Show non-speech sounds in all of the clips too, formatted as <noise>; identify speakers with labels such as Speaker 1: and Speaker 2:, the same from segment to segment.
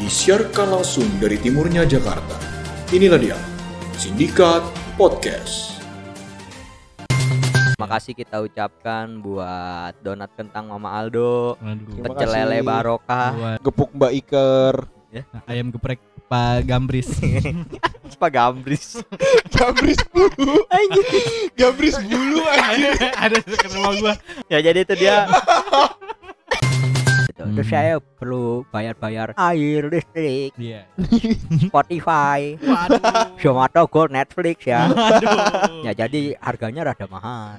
Speaker 1: disiarkan langsung dari timurnya Jakarta. Inilah dia, Sindikat Podcast.
Speaker 2: Makasih kita ucapkan buat donat kentang Mama Aldo,
Speaker 3: Waduh.
Speaker 2: pecel lele
Speaker 4: kasih.
Speaker 2: barokah,
Speaker 3: Buat
Speaker 4: Gepuk Mbak Iker.
Speaker 3: ayam geprek Pak Gambris.
Speaker 2: <laughs> apa gambris.
Speaker 4: <laughs> Gabris bulu. Gabris bulu anjir.
Speaker 3: Ada dekat rumah gua.
Speaker 2: ya jadi itu <laughs> dia. Gitu. Terus
Speaker 3: Hmm.
Speaker 2: saya perlu bayar-bayar air, <laughs> listrik,
Speaker 3: Iya.
Speaker 2: Spotify,
Speaker 3: Waduh.
Speaker 2: Zomato, Gold, Netflix <laughs> ya.
Speaker 3: Waduh.
Speaker 2: Ya jadi harganya rada mahal.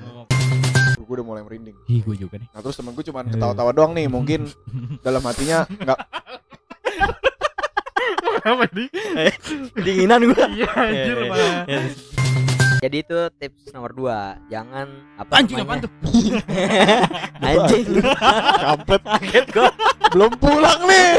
Speaker 4: Gue udah mulai merinding.
Speaker 3: Ih, gua juga nih.
Speaker 4: Nah terus temen gue cuman ketawa-tawa doang nih. Mungkin dalam hatinya nggak
Speaker 3: Apa nih?
Speaker 2: Dinginan gua. <laughs>
Speaker 3: Iya, anjir
Speaker 2: Iya, iya.
Speaker 3: malah.
Speaker 2: Jadi itu tips nomor dua, jangan apa
Speaker 3: Anjing
Speaker 2: namanya?
Speaker 3: apaan tuh?
Speaker 2: <laughs> Anjing.
Speaker 4: kampret.
Speaker 2: Kaget gua.
Speaker 4: Belum pulang nih.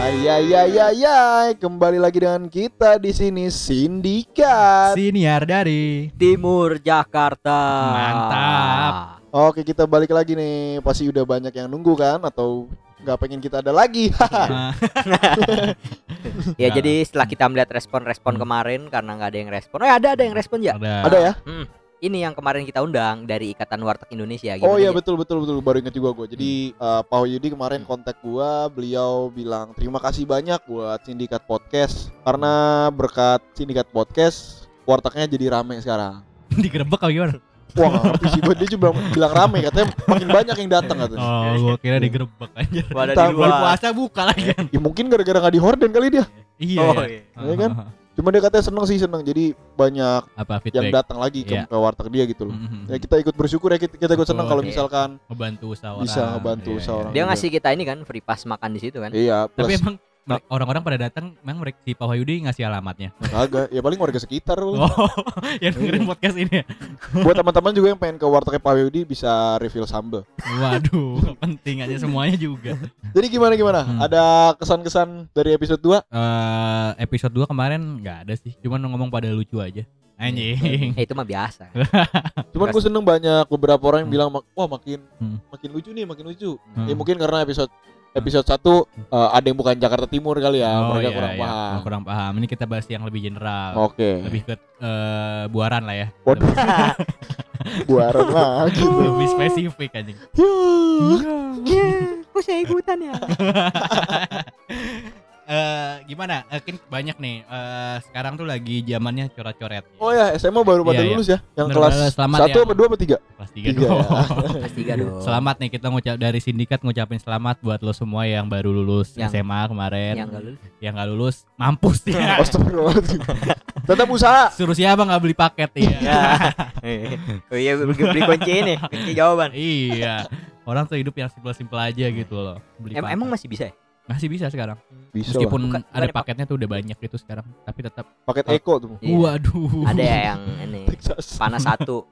Speaker 4: Ay ay ay ay ay. ya, Kembali lagi dengan kita di sini Sindikat.
Speaker 3: Siniar dari
Speaker 2: Timur Jakarta.
Speaker 3: Mantap.
Speaker 4: Oke kita balik lagi nih. Pasti udah banyak yang nunggu kan? Atau nggak pengen kita ada lagi? <laughs>
Speaker 3: Ah,
Speaker 2: Ya
Speaker 3: Nah.
Speaker 2: jadi setelah kita melihat respon-respon
Speaker 3: Hmm.
Speaker 2: kemarin karena nggak ada yang respon. Eh ada ada yang respon ya.
Speaker 3: ada.
Speaker 4: ada ya?
Speaker 2: Hmm. Ini yang kemarin kita undang dari Ikatan Warteg Indonesia.
Speaker 4: Oh iya
Speaker 2: betul.
Speaker 4: betul betul betul baru ingat juga gue. Jadi eh, Pak Yudi kemarin kontak gua, beliau bilang terima kasih banyak buat Sindikat Podcast karena berkat Sindikat Podcast wartegnya jadi rame sekarang.
Speaker 3: Digerebek apa gimana?
Speaker 4: Wah nggak ngerti sih gue dia juga bilang, bilang rame katanya makin banyak yang datang katanya.
Speaker 3: Oh, gua kira
Speaker 4: Iya.
Speaker 3: digerebek aja.
Speaker 2: Ada
Speaker 4: Entah,
Speaker 2: di
Speaker 3: Bulan
Speaker 2: luar.
Speaker 3: puasa buka lagi kan.
Speaker 4: Ya mungkin gara-gara nggak dihorden kali dia.
Speaker 3: Iya.
Speaker 2: Oh,
Speaker 3: ya.
Speaker 2: iya.
Speaker 4: Iya kan? Cuma dia katanya seneng sih seneng. Jadi banyak
Speaker 3: Apa
Speaker 4: yang
Speaker 3: feedback?
Speaker 4: datang lagi ke,
Speaker 3: Iya.
Speaker 4: ke warteg dia gitu loh.
Speaker 3: Mhm.
Speaker 4: Ya kita ikut bersyukur ya kita, kita ikut
Speaker 3: Betul,
Speaker 4: senang kalau
Speaker 2: iya.
Speaker 4: misalkan
Speaker 3: Ngebantu usaha orang.
Speaker 4: Bisa ngebantu
Speaker 3: Iya,
Speaker 4: usaha
Speaker 3: iya.
Speaker 4: orang.
Speaker 2: Dia ngasih kita ini kan free pass makan di situ kan.
Speaker 4: iya
Speaker 3: Tapi
Speaker 4: plus
Speaker 3: emang mere- orang-orang pada datang memang mereka si Pak Wahyudi ngasih alamatnya.
Speaker 4: agak ya paling warga sekitar loh.
Speaker 3: Oh, <laughs> yang
Speaker 4: Iya.
Speaker 3: dengerin podcast ini. ya?
Speaker 4: Buat teman-teman juga yang pengen ke wartegnya Pak Yudi bisa refill sambel.
Speaker 3: Waduh, <laughs> penting aja semuanya juga.
Speaker 4: Jadi gimana gimana?
Speaker 3: Hmm.
Speaker 4: Ada kesan-kesan dari episode 2?
Speaker 3: Eh, episode 2 kemarin nggak ada sih, cuman ngomong pada lucu aja. <laughs>
Speaker 2: <laughs>
Speaker 3: Anjing.
Speaker 2: Eh, itu mah biasa.
Speaker 4: Cuman gue seneng banyak beberapa orang yang
Speaker 3: Hmm.
Speaker 4: bilang mak- wah makin
Speaker 3: Hmm.
Speaker 4: makin lucu nih, makin lucu.
Speaker 3: Hmm.
Speaker 4: Ya mungkin karena episode episode 1 ada yang bukan Jakarta Timur kali ya,
Speaker 3: iya,
Speaker 4: mereka kurang
Speaker 3: iya.
Speaker 4: paham.
Speaker 3: Oh, kurang paham. Ini kita bahas yang lebih general.
Speaker 4: Oke.
Speaker 3: Lebih ke eh, buaran lah ya. <laughs>
Speaker 4: Waduh, buaran lagi.
Speaker 3: Lebih, lebih spesifik anjing. <laughs>
Speaker 2: Kok saya ikutan ya?
Speaker 3: Eh, gimana? Eh, kan banyak nih. Eh, sekarang tuh lagi zamannya coret-coret.
Speaker 4: Oh ya, SMA baru
Speaker 3: Iya,
Speaker 4: pada
Speaker 3: iya.
Speaker 4: lulus ya. Yang
Speaker 3: Baru
Speaker 4: kelas
Speaker 3: lulus, selamat
Speaker 4: 1
Speaker 3: ya.
Speaker 4: apa 2 apa 3?
Speaker 3: Kelas tiga
Speaker 4: Tiga.
Speaker 3: dong.
Speaker 2: Pas tiga dong.
Speaker 3: Iya. Selamat nih kita ngucap dari sindikat ngucapin selamat buat lo semua yang baru lulus
Speaker 2: Yang-
Speaker 3: SMA
Speaker 2: Yang
Speaker 3: kemarin.
Speaker 2: Iya, nggak lulus.
Speaker 3: Yang nggak lulus mampus
Speaker 4: <laughs>
Speaker 3: ya.
Speaker 4: Astagfirullahaladzim. Tetap usaha.
Speaker 3: Suruh siapa nggak beli paket ya.
Speaker 2: <laughs> oh iya beli, beli kunci ini, kunci jawaban.
Speaker 3: iya. Orang tuh hidup yang simpel-simpel aja gitu loh. Beli
Speaker 2: Em-
Speaker 3: paket.
Speaker 2: emang masih bisa ya?
Speaker 3: masih bisa sekarang.
Speaker 4: Bisa lah.
Speaker 3: Meskipun Oh.
Speaker 2: Bukan-
Speaker 3: ada
Speaker 2: bukan-
Speaker 3: paketnya tuh udah banyak gitu sekarang, tapi tetap
Speaker 4: Paket Eko tuh.
Speaker 2: Iya.
Speaker 3: waduh.
Speaker 2: Ada ya yang ini
Speaker 4: Texas.
Speaker 2: panas satu,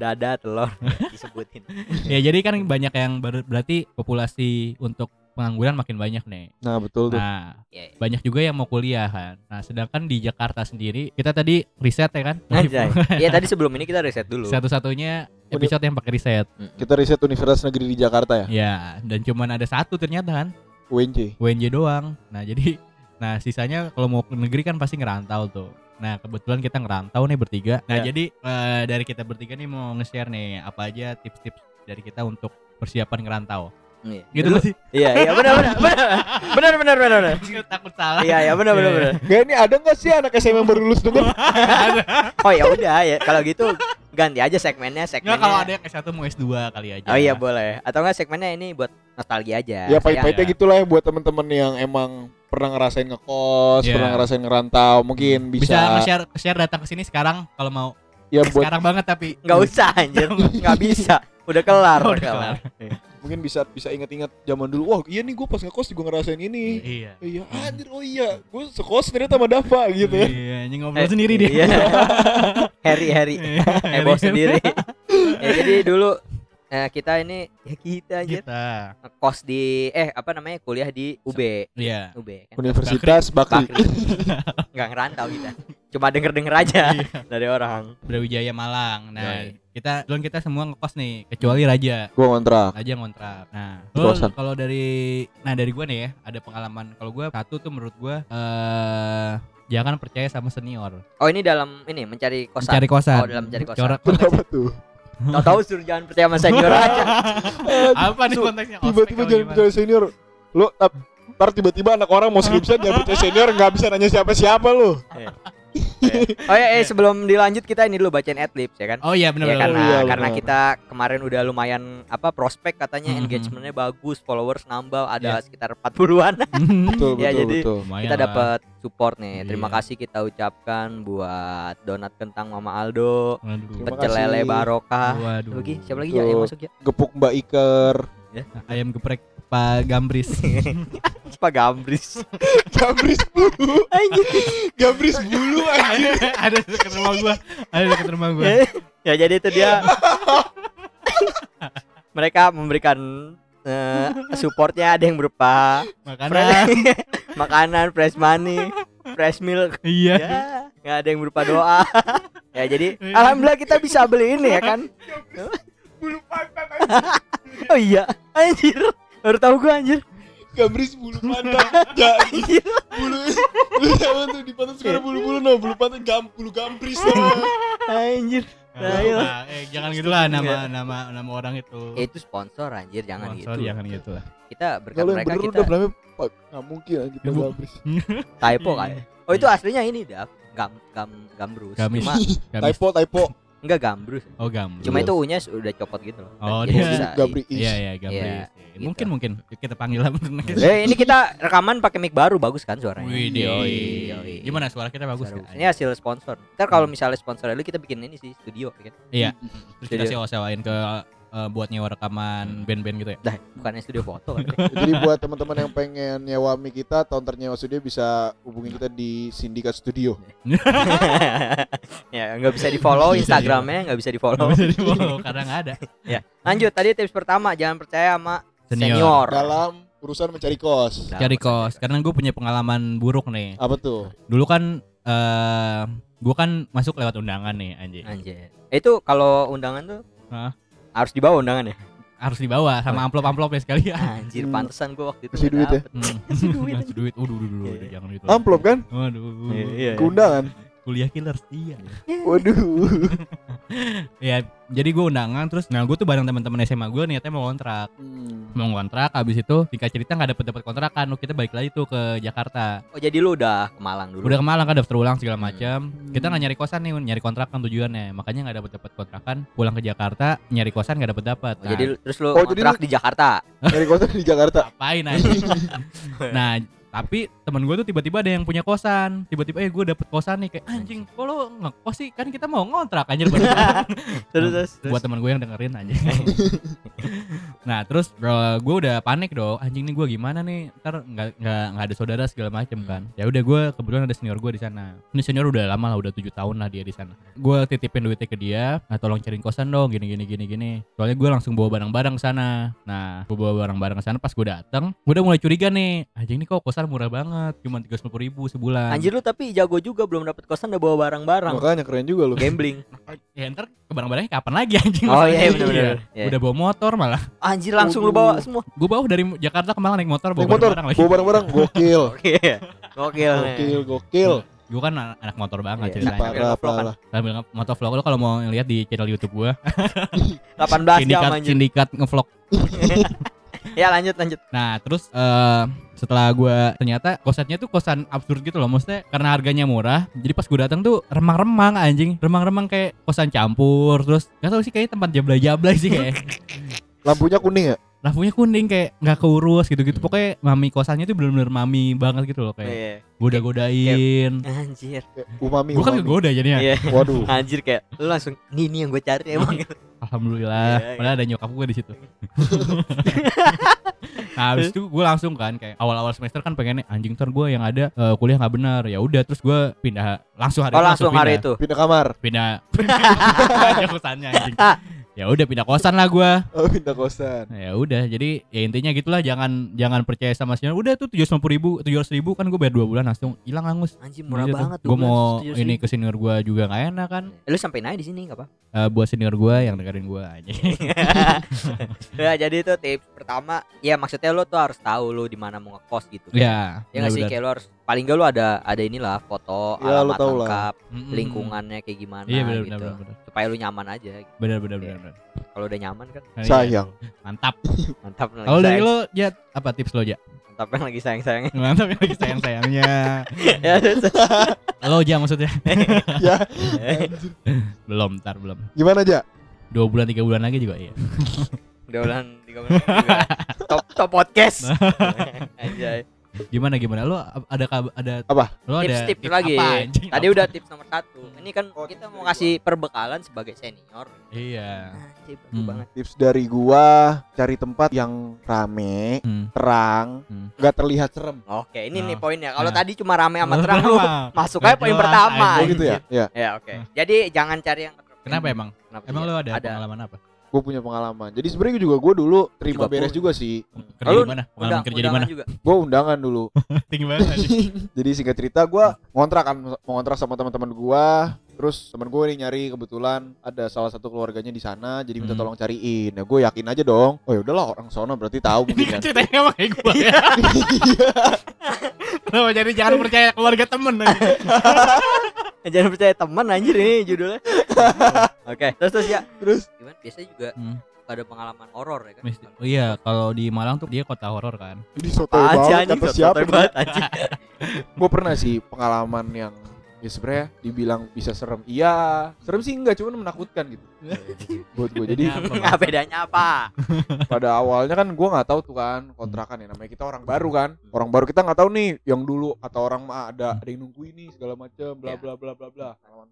Speaker 2: dada telur <laughs> disebutin.
Speaker 3: <laughs> ya jadi kan banyak yang ber- berarti populasi untuk pengangguran makin banyak nih.
Speaker 4: Nah, betul tuh.
Speaker 3: Nah,
Speaker 2: Iya. iya.
Speaker 3: banyak juga yang mau kuliah kan. Nah, sedangkan di Jakarta sendiri kita tadi riset ya kan.
Speaker 2: Anjay. Iya tadi sebelum ini kita riset dulu.
Speaker 3: Satu-satunya episode yang pakai riset.
Speaker 2: Mm-mm.
Speaker 4: Kita riset Universitas Negeri di Jakarta ya,
Speaker 2: Iya.
Speaker 3: Ya, dan cuman ada satu ternyata kan,
Speaker 4: UNJ.
Speaker 3: UNJ doang. Nah, jadi nah sisanya kalau mau ke negeri kan pasti ngerantau tuh. Nah, kebetulan kita ngerantau nih bertiga. Nah,
Speaker 2: Ya.
Speaker 3: jadi eh, dari kita bertiga nih mau nge-share nih apa aja tips-tips dari kita untuk persiapan ngerantau.
Speaker 2: Iya.
Speaker 3: Gitu
Speaker 2: Dulu-
Speaker 3: gak sih? <laughs>
Speaker 2: Iya, iya benar benar benar. Benar benar benar benar.
Speaker 3: Takut salah.
Speaker 2: Iya, iya benar benar
Speaker 3: Iya,
Speaker 2: benar.
Speaker 4: Gak ini ada nggak sih anak SMA yang baru lulus denger?
Speaker 2: Oh ya udah ya kalau gitu ganti aja segmennya
Speaker 3: Enggak
Speaker 2: segmennya.
Speaker 3: kalau ada yang S1 mau S2 kali aja.
Speaker 2: iya, Oh iya boleh. Atau enggak segmennya ini buat nostalgia aja.
Speaker 4: ya
Speaker 2: Saya-
Speaker 4: pahit-pahitnya
Speaker 3: Iya.
Speaker 4: gitulah ya buat temen-temen yang emang pernah ngerasain
Speaker 3: Iya.
Speaker 4: ngekos,
Speaker 3: Hmm.
Speaker 4: pernah ngerasain ngerantau, mungkin
Speaker 3: bisa,
Speaker 4: bisa,
Speaker 3: nge-share share datang ke sini sekarang kalau mau.
Speaker 4: ya buat
Speaker 3: sekarang banget tapi
Speaker 2: nggak usah anjir, nggak bisa. Udah kelar.
Speaker 3: Udah
Speaker 2: kawan. Eh,
Speaker 3: kelar.
Speaker 4: mungkin bisa bisa ingat-ingat zaman dulu. Wah, iya nih gue pas ngekos gue ngerasain ini.
Speaker 3: Iya.
Speaker 4: Iya, anjir, oh iya, gue sekos ternyata sama Dava gitu ya.
Speaker 3: Iya, anjing
Speaker 2: Eh,
Speaker 3: ngobrol sendiri dia. <laughs>
Speaker 2: Iya. Harry Harry
Speaker 3: Iya,
Speaker 2: heboh
Speaker 3: ini <laughs>
Speaker 2: sendiri. ya, jadi dulu eh, kita ini ya kita anjir
Speaker 3: Kita.
Speaker 2: kos di eh apa namanya kuliah di UB.
Speaker 3: Iya.
Speaker 2: UB kan.
Speaker 4: Universitas
Speaker 2: <laughs>
Speaker 4: Bakri.
Speaker 2: Bakri. Enggak ngerantau kita. Cuma denger-denger aja
Speaker 3: Iya.
Speaker 2: <laughs> dari orang.
Speaker 3: Brawijaya Malang. Nah,
Speaker 2: Yoi.
Speaker 3: kita belum kita semua ngekos nih, kecuali Raja.
Speaker 4: Gue ngontrak.
Speaker 3: aja ngontrak. Nah,
Speaker 4: Di
Speaker 3: lu
Speaker 4: kosan.
Speaker 3: kalau dari nah dari gua nih ya, ada pengalaman. Kalau gua satu tuh menurut gua eh jangan percaya sama senior.
Speaker 2: Oh, ini dalam ini mencari kosan.
Speaker 3: Mencari kosan.
Speaker 2: Oh, dalam mencari kosan.
Speaker 3: Corak-
Speaker 4: Kenapa tuh?
Speaker 2: Tahu-tahu suruh jangan percaya sama senior aja.
Speaker 3: <laughs> Apa nih
Speaker 4: Su-
Speaker 3: konteksnya? Ospek
Speaker 4: Tiba-tiba
Speaker 3: apa
Speaker 4: jadi
Speaker 3: gimana?
Speaker 4: percaya senior. Lo ap- ntar tiba-tiba anak orang mau
Speaker 3: <laughs>
Speaker 4: skripsian jangan percaya senior nggak bisa nanya siapa-siapa lo.
Speaker 2: Oh ya, eh sebelum dilanjut kita ini dulu bacain adlibs ya kan.
Speaker 3: Iya. Oh iya benar
Speaker 2: ya
Speaker 3: benar.
Speaker 2: karena
Speaker 4: Iya,
Speaker 3: <laughs>
Speaker 2: karena
Speaker 4: benar.
Speaker 2: kita kemarin udah lumayan apa prospek katanya
Speaker 3: Mhm.
Speaker 2: engagementnya bagus, followers nambah ada sekitar 40-an.
Speaker 4: Betul,
Speaker 2: Ya,
Speaker 4: betul,
Speaker 2: jadi-
Speaker 4: betul.
Speaker 3: Iya. Lumayan
Speaker 2: <laughs> kita
Speaker 3: lah.
Speaker 2: dapat support nih. Terima
Speaker 3: Iya.
Speaker 2: kasih kita ucapkan buat donat kentang Mama Aldo,
Speaker 3: Waduh.
Speaker 4: Terima
Speaker 2: pecel lele
Speaker 4: kasih.
Speaker 2: barokah.
Speaker 3: Waduh.
Speaker 2: Lagi siapa lagi ya
Speaker 4: Betul.
Speaker 2: yang masuk ya?
Speaker 4: Gepuk Mbak Iker.
Speaker 3: Nah, Ayam geprek Pak Gambris. <laughs>
Speaker 2: Siapa <laughs> Gambris?
Speaker 4: <laughs> Gabris bulu. Gabris bulu anjing.
Speaker 3: ada dekat rumah gua. Ada dekat rumah gua.
Speaker 2: ya jadi itu dia <laughs> mereka memberikan eh, supportnya ada yang berupa
Speaker 3: Makanan.
Speaker 2: <laughs> makanan fresh money fresh milk
Speaker 3: Iya.
Speaker 2: ya nggak ada yang berupa <laughs> doa ya jadi alhamdulillah kita bisa beli ini ya <laughs> kan
Speaker 4: Bulu pantat
Speaker 2: oh iya anjir baru tahu gua <laughs> anjir
Speaker 4: Gabris bulu <laughs> pantat. Ya,
Speaker 2: anjir
Speaker 4: bulu. Lu tahu tuh di pantat sekarang bulu-bulu no, bulu pantat gam bulu <laughs> gambris. no.
Speaker 2: anjir
Speaker 3: Nah,
Speaker 2: Ayo.
Speaker 3: nah, eh, jangan gitulah nama nama nama orang itu.
Speaker 2: Ya, itu sponsor anjir jangan
Speaker 3: Sponsor,
Speaker 2: gitu
Speaker 3: Jangan gitu lah.
Speaker 2: kita berkat
Speaker 4: Kalau yang
Speaker 2: mereka
Speaker 4: bener
Speaker 2: kita
Speaker 4: udah namanya Pak. Nggak mungkin anjing Pak
Speaker 3: Ibu.
Speaker 4: Gabris.
Speaker 2: typo
Speaker 3: Iya.
Speaker 2: kan oh itu aslinya ini dah gam gam gambrus
Speaker 3: Gamis. <laughs>
Speaker 2: cuma
Speaker 3: Gamis.
Speaker 4: Typo typo.
Speaker 2: enggak gambrus
Speaker 3: Oh, Gambris.
Speaker 2: Cuma itu U-nya udah copot gitu loh.
Speaker 3: Oh,
Speaker 2: Jadi
Speaker 3: dia
Speaker 2: bisa di-
Speaker 4: Gabris.
Speaker 3: <laughs> Iya iya Gambris.
Speaker 2: gitu.
Speaker 3: Mungkin mungkin kita panggil lah.
Speaker 2: Eh, ini kita rekaman pakai mic baru bagus kan suaranya.
Speaker 3: Widih.
Speaker 2: Yoi, yoi.
Speaker 3: Gimana suara kita bagus
Speaker 2: iya, Suara bagus.
Speaker 3: kan? Hmm. nggak?
Speaker 2: Ya. Ini hasil sponsor. Ntar kalau misalnya sponsor lu kita bikin ini sih studio ya kan.
Speaker 3: Iya. Terus kita
Speaker 2: Jadi-
Speaker 3: sewa-sewain ke eh, buat nyewa rekaman band-band gitu ya.
Speaker 2: Dah, bukannya studio foto
Speaker 3: <laughs>
Speaker 2: kan. <laughs>
Speaker 4: Jadi buat teman-teman yang pengen nyewa mic kita atau ntar nyewa studio bisa hubungi kita di Sindikat Studio.
Speaker 2: ya, nggak bisa di-follow
Speaker 3: Bisa,
Speaker 2: Instagramnya nggak bisa di-follow.
Speaker 3: Bisa di-follow, karena nggak ada.
Speaker 2: <laughs> Lanjut, tadi tips pertama jangan percaya sama
Speaker 3: Senior.
Speaker 2: senior.
Speaker 4: Dalam urusan mencari kos.
Speaker 2: Dalam
Speaker 3: Cari
Speaker 2: percaya.
Speaker 3: kos karena gue punya pengalaman buruk nih.
Speaker 4: Apa tuh?
Speaker 3: Dulu kan eh gue kan masuk lewat undangan nih anjing.
Speaker 2: Anjir. Itu kalau undangan tuh
Speaker 3: Hah?
Speaker 2: harus dibawa undangan ya.
Speaker 3: Harus dibawa sama amplop-amplop ya sekalian.
Speaker 2: Anjir,
Speaker 4: Hmm.
Speaker 2: pantesan gua waktu itu
Speaker 4: Kasih
Speaker 2: nggak
Speaker 4: duit ya?
Speaker 2: dapet.
Speaker 3: Hmm.
Speaker 2: Kasih duit.
Speaker 3: Ngasih duit. Waduh, waduh, waduh,
Speaker 2: Iya,
Speaker 3: waduh,
Speaker 2: iya.
Speaker 3: jangan itu.
Speaker 4: Amplop kan?
Speaker 3: Waduh.
Speaker 2: Iya, iya.
Speaker 4: Keundangan.
Speaker 3: Kuliah killers iya. <laughs>
Speaker 4: Waduh.
Speaker 3: Ya, jadi gue undangan terus nah gue tuh bareng teman-teman SMA gue niatnya mau kontrak.
Speaker 4: Hmm.
Speaker 3: Mau kontrak habis itu singkat cerita nggak dapet dapat kontrakan. Lu kita balik lagi tuh ke Jakarta.
Speaker 2: Oh, jadi lu udah ke Malang dulu.
Speaker 3: Udah ke Malang kan daftar ulang segala macam.
Speaker 4: Hmm.
Speaker 3: Kita nggak nyari kosan nih, nyari kontrakan tujuannya. Makanya nggak dapet dapat kontrakan. Pulang ke Jakarta nyari kosan nggak dapet dapat.
Speaker 2: Oh, jadi lu- terus lu
Speaker 4: Oh, jadi
Speaker 2: kontrak di Jakarta.
Speaker 4: Nyari kosan di Jakarta.
Speaker 3: ngapain aja? nah tapi temen gue tuh tiba-tiba ada yang punya kosan tiba-tiba eh gue dapet kosan nih kayak anjing kok lo ngekos sih kan kita mau ngontrak anjir baru-
Speaker 4: Hmm.
Speaker 3: Terus,
Speaker 2: terus Oh.
Speaker 3: buat temen gue yang dengerin aja <laughs> nah terus gue udah panik dong anjing nih gue gimana nih ntar nggak nggak nggak ada saudara segala
Speaker 2: Hmm.
Speaker 3: macem kan ya udah gue kebetulan ada senior gue di sana ini senior udah lama lah udah tujuh tahun lah dia di sana gue titipin duitnya ke dia nah tolong cariin kosan dong gini gini gini gini soalnya gue langsung bawa barang-barang ke sana nah gue bawa barang-barang ke sana pas gue dateng gue udah mulai curiga nih anjing nih kok kosan murah banget cuma tiga ribu sebulan
Speaker 2: Anjir lu tapi jago juga belum dapat kosan udah bawa barang-barang.
Speaker 4: Makanya keren juga lu.
Speaker 3: <laughs>
Speaker 2: Gambling.
Speaker 3: ya ntar ke barang-barangnya kapan lagi anjing
Speaker 2: Oh iya
Speaker 3: Masalahnya.
Speaker 2: benar-benar. Iya.
Speaker 3: udah bawa motor malah
Speaker 2: Anjir langsung lu bawa semua.
Speaker 3: Gue bawa dari Jakarta ke Malang naik motor, bawa
Speaker 4: Naik motor,
Speaker 3: barang-barang lagi.
Speaker 4: bawa barang-barang, gokil.
Speaker 2: Oke. Gokil. nih.
Speaker 4: Gokil, gokil.
Speaker 3: Gue kan anak anak motor banget
Speaker 2: Iya.
Speaker 3: ceritanya.
Speaker 2: Sambil
Speaker 4: Parah,
Speaker 2: ngevlog kan.
Speaker 4: parah.
Speaker 3: Sambil nge- motovlog lo kalau mau lihat di channel YouTube gue,
Speaker 2: 18 jam
Speaker 3: sindikat
Speaker 2: anjir.
Speaker 3: sindikat ngevlog.
Speaker 2: Ya lanjut lanjut.
Speaker 3: Nah terus eh, setelah gue ternyata kosannya tuh kosan absurd gitu loh, maksudnya karena harganya murah. Jadi pas gue datang tuh remang-remang anjing, remang-remang kayak kosan campur. Terus gak tau sih kayak tempat jablay-jablay sih kayak.
Speaker 4: Lampunya kuning ya?
Speaker 3: lampunya kuning kayak nggak keurus gitu-gitu. Pokoknya mami kosannya itu benar-benar mami banget gitu loh kayak
Speaker 2: Iya.
Speaker 3: goda-godain.
Speaker 2: Anjir.
Speaker 4: Kayak Eh, umami
Speaker 3: Gue kan
Speaker 4: umami.
Speaker 3: kegoda jadinya.
Speaker 2: Iya. <laughs>
Speaker 4: Waduh.
Speaker 2: Anjir kayak lu langsung ini ini yang gue cari emang. Oh, Iya,
Speaker 3: Alhamdulillah.
Speaker 2: iya.
Speaker 3: Padahal ada nyokap gue di
Speaker 2: <laughs>
Speaker 3: situ. nah, habis itu gue langsung kan kayak awal-awal semester kan pengennya anjing ntar gue yang ada eh, kuliah nggak benar. Ya udah terus gue pindah langsung hari
Speaker 2: Oh
Speaker 3: itu
Speaker 2: langsung hari
Speaker 3: pindah.
Speaker 2: itu.
Speaker 4: Pindah kamar.
Speaker 3: Pindah.
Speaker 2: <laughs>
Speaker 3: Ada kosannya anjing. Ya udah pindah kosan lah gue.
Speaker 4: Oh, pindah kosan.
Speaker 3: Ya udah, jadi ya intinya gitulah jangan jangan percaya sama senior. Udah tuh tujuh ribu, tujuh ribu kan gue bayar dua bulan langsung hilang hangus.
Speaker 2: Anjir murah banget
Speaker 3: Gue Iya, mau
Speaker 2: 12.700.
Speaker 3: ini ke senior gue juga gak enak kan.
Speaker 2: Eh, Lu sampein aja di sini enggak apa?
Speaker 3: Eh, buat senior gue yang dengerin gue aja.
Speaker 2: <laughs> ya jadi itu tips pertama ya maksudnya lo tuh harus tahu lo di mana mau ngekos gitu
Speaker 3: ya.
Speaker 2: ya nggak sih
Speaker 3: benar-benar.
Speaker 2: kayak lo harus paling gak lo ada ada inilah foto
Speaker 4: Ya, lo
Speaker 2: alamat
Speaker 4: tau lah.
Speaker 2: lengkap
Speaker 3: Mm-mm.
Speaker 2: lingkungannya kayak gimana
Speaker 3: Hmm. Iya benar benar
Speaker 2: gitu
Speaker 3: benar benar.
Speaker 2: supaya lo nyaman aja
Speaker 3: Benar benar
Speaker 2: Iya.
Speaker 3: benar. benar.
Speaker 2: kalau udah nyaman kan
Speaker 3: Nah, iya.
Speaker 4: Sayang.
Speaker 3: Mantap.
Speaker 2: mantap lagi
Speaker 3: Kalau dari
Speaker 2: sayang-
Speaker 3: lo Jat, apa tips lo, Jat?
Speaker 2: mantap yang lagi sayang sayang
Speaker 3: <laughs> Mantap ya lagi sayang-sayangnya.
Speaker 2: ya
Speaker 3: lo aja maksudnya.
Speaker 4: ya,
Speaker 3: belum, ntar belum.
Speaker 4: gimana aja?
Speaker 3: Dua bulan tiga bulan lagi juga iya.
Speaker 2: udah ulang tiga menit juga. top top
Speaker 3: <laughs>
Speaker 2: podcast aja
Speaker 3: Gimana gimana? Lo ap- ada kab- ada
Speaker 4: Apa?
Speaker 3: Lo
Speaker 2: tips
Speaker 3: Oh, ada
Speaker 2: tips lagi
Speaker 3: apa, anjing?
Speaker 2: tadi
Speaker 3: Apa?
Speaker 2: udah tips nomor satu ini kan
Speaker 4: Oh,
Speaker 2: kita
Speaker 4: tips
Speaker 2: mau
Speaker 4: dari
Speaker 2: kasih perbekalan sebagai senior
Speaker 3: Iya.
Speaker 2: Anjir, bagus
Speaker 3: Hmm.
Speaker 2: banget
Speaker 4: Tips dari gua, cari tempat yang rame,
Speaker 3: Hmm.
Speaker 4: terang,
Speaker 3: Hmm.
Speaker 4: nggak terlihat serem.
Speaker 2: oke ini
Speaker 3: Nah.
Speaker 2: nih poinnya kalau
Speaker 3: Nah.
Speaker 2: tadi cuma rame
Speaker 3: <laughs>
Speaker 2: sama terang lo
Speaker 3: Pertama.
Speaker 2: masuk aja
Speaker 3: Nggak
Speaker 2: poin
Speaker 3: jelas,
Speaker 2: pertama.
Speaker 3: anjing.
Speaker 4: Oh gitu ya? Ya,
Speaker 2: Ya oke.
Speaker 3: Nah.
Speaker 2: Jadi jangan cari yang
Speaker 3: Kenapa emang?
Speaker 2: Kenapa
Speaker 3: Emang
Speaker 2: iya?
Speaker 3: lo ada,
Speaker 2: Ada.
Speaker 3: pengalaman apa?
Speaker 4: gue punya pengalaman. Jadi sebenarnya juga gue dulu terima
Speaker 2: Juga
Speaker 4: beres
Speaker 2: punya.
Speaker 4: juga sih.
Speaker 3: Kerja
Speaker 2: Lo
Speaker 3: di mana? Pengalaman
Speaker 2: undang-
Speaker 3: kerja di
Speaker 2: undangan
Speaker 3: mana?
Speaker 2: Juga. <laughs>
Speaker 4: Gue undangan dulu.
Speaker 3: Tinggi banget. anjing.
Speaker 4: <laughs> Jadi singkat cerita gue ngontrak kan, mau ngontrak sama teman-teman gue. Terus temen gue nih nyari kebetulan ada salah satu keluarganya di sana, jadi minta
Speaker 3: Hmm.
Speaker 4: tolong cariin. Ya gue yakin aja dong. Oh ya udahlah orang sono berarti
Speaker 2: <laughs>
Speaker 3: Ini
Speaker 4: tahu mungkin
Speaker 2: Iya,
Speaker 4: kan.
Speaker 3: ceritanya sama kayak gue ya.
Speaker 4: Iya.
Speaker 3: Lo jadi jangan percaya keluarga temen anjing.
Speaker 2: Jangan percaya teman anjir ini judulnya.
Speaker 3: <laughs>
Speaker 2: oke. Terus terus ya.
Speaker 4: Terus
Speaker 2: Gimana? Biasanya juga
Speaker 3: Hmm.
Speaker 2: suka ada pengalaman horor ya kan?
Speaker 3: Mis- oh iya, kalau di Malang tuh dia kota horor kan.
Speaker 4: ini soto
Speaker 2: Apaan sih
Speaker 4: banget
Speaker 2: anjing?
Speaker 4: kata
Speaker 2: Sotoy
Speaker 4: siapa?
Speaker 2: banget
Speaker 3: <laughs>
Speaker 2: anjing.
Speaker 4: Gue pernah sih pengalaman yang ya sebenarnya dibilang bisa serem. Iya, serem sih enggak, cuman menakutkan gitu. Buat gue
Speaker 2: Iya.
Speaker 4: jadi
Speaker 2: Nggak <laughs> bedanya apa?
Speaker 3: Hmm.
Speaker 4: pada awalnya kan gua nggak tahu tuh kan kontrakan ya namanya kita orang baru kan orang baru kita nggak tahu nih yang dulu atau orang mah ada ada yang nunggu ini segala macam bla
Speaker 2: Ya.
Speaker 4: bla bla bla bla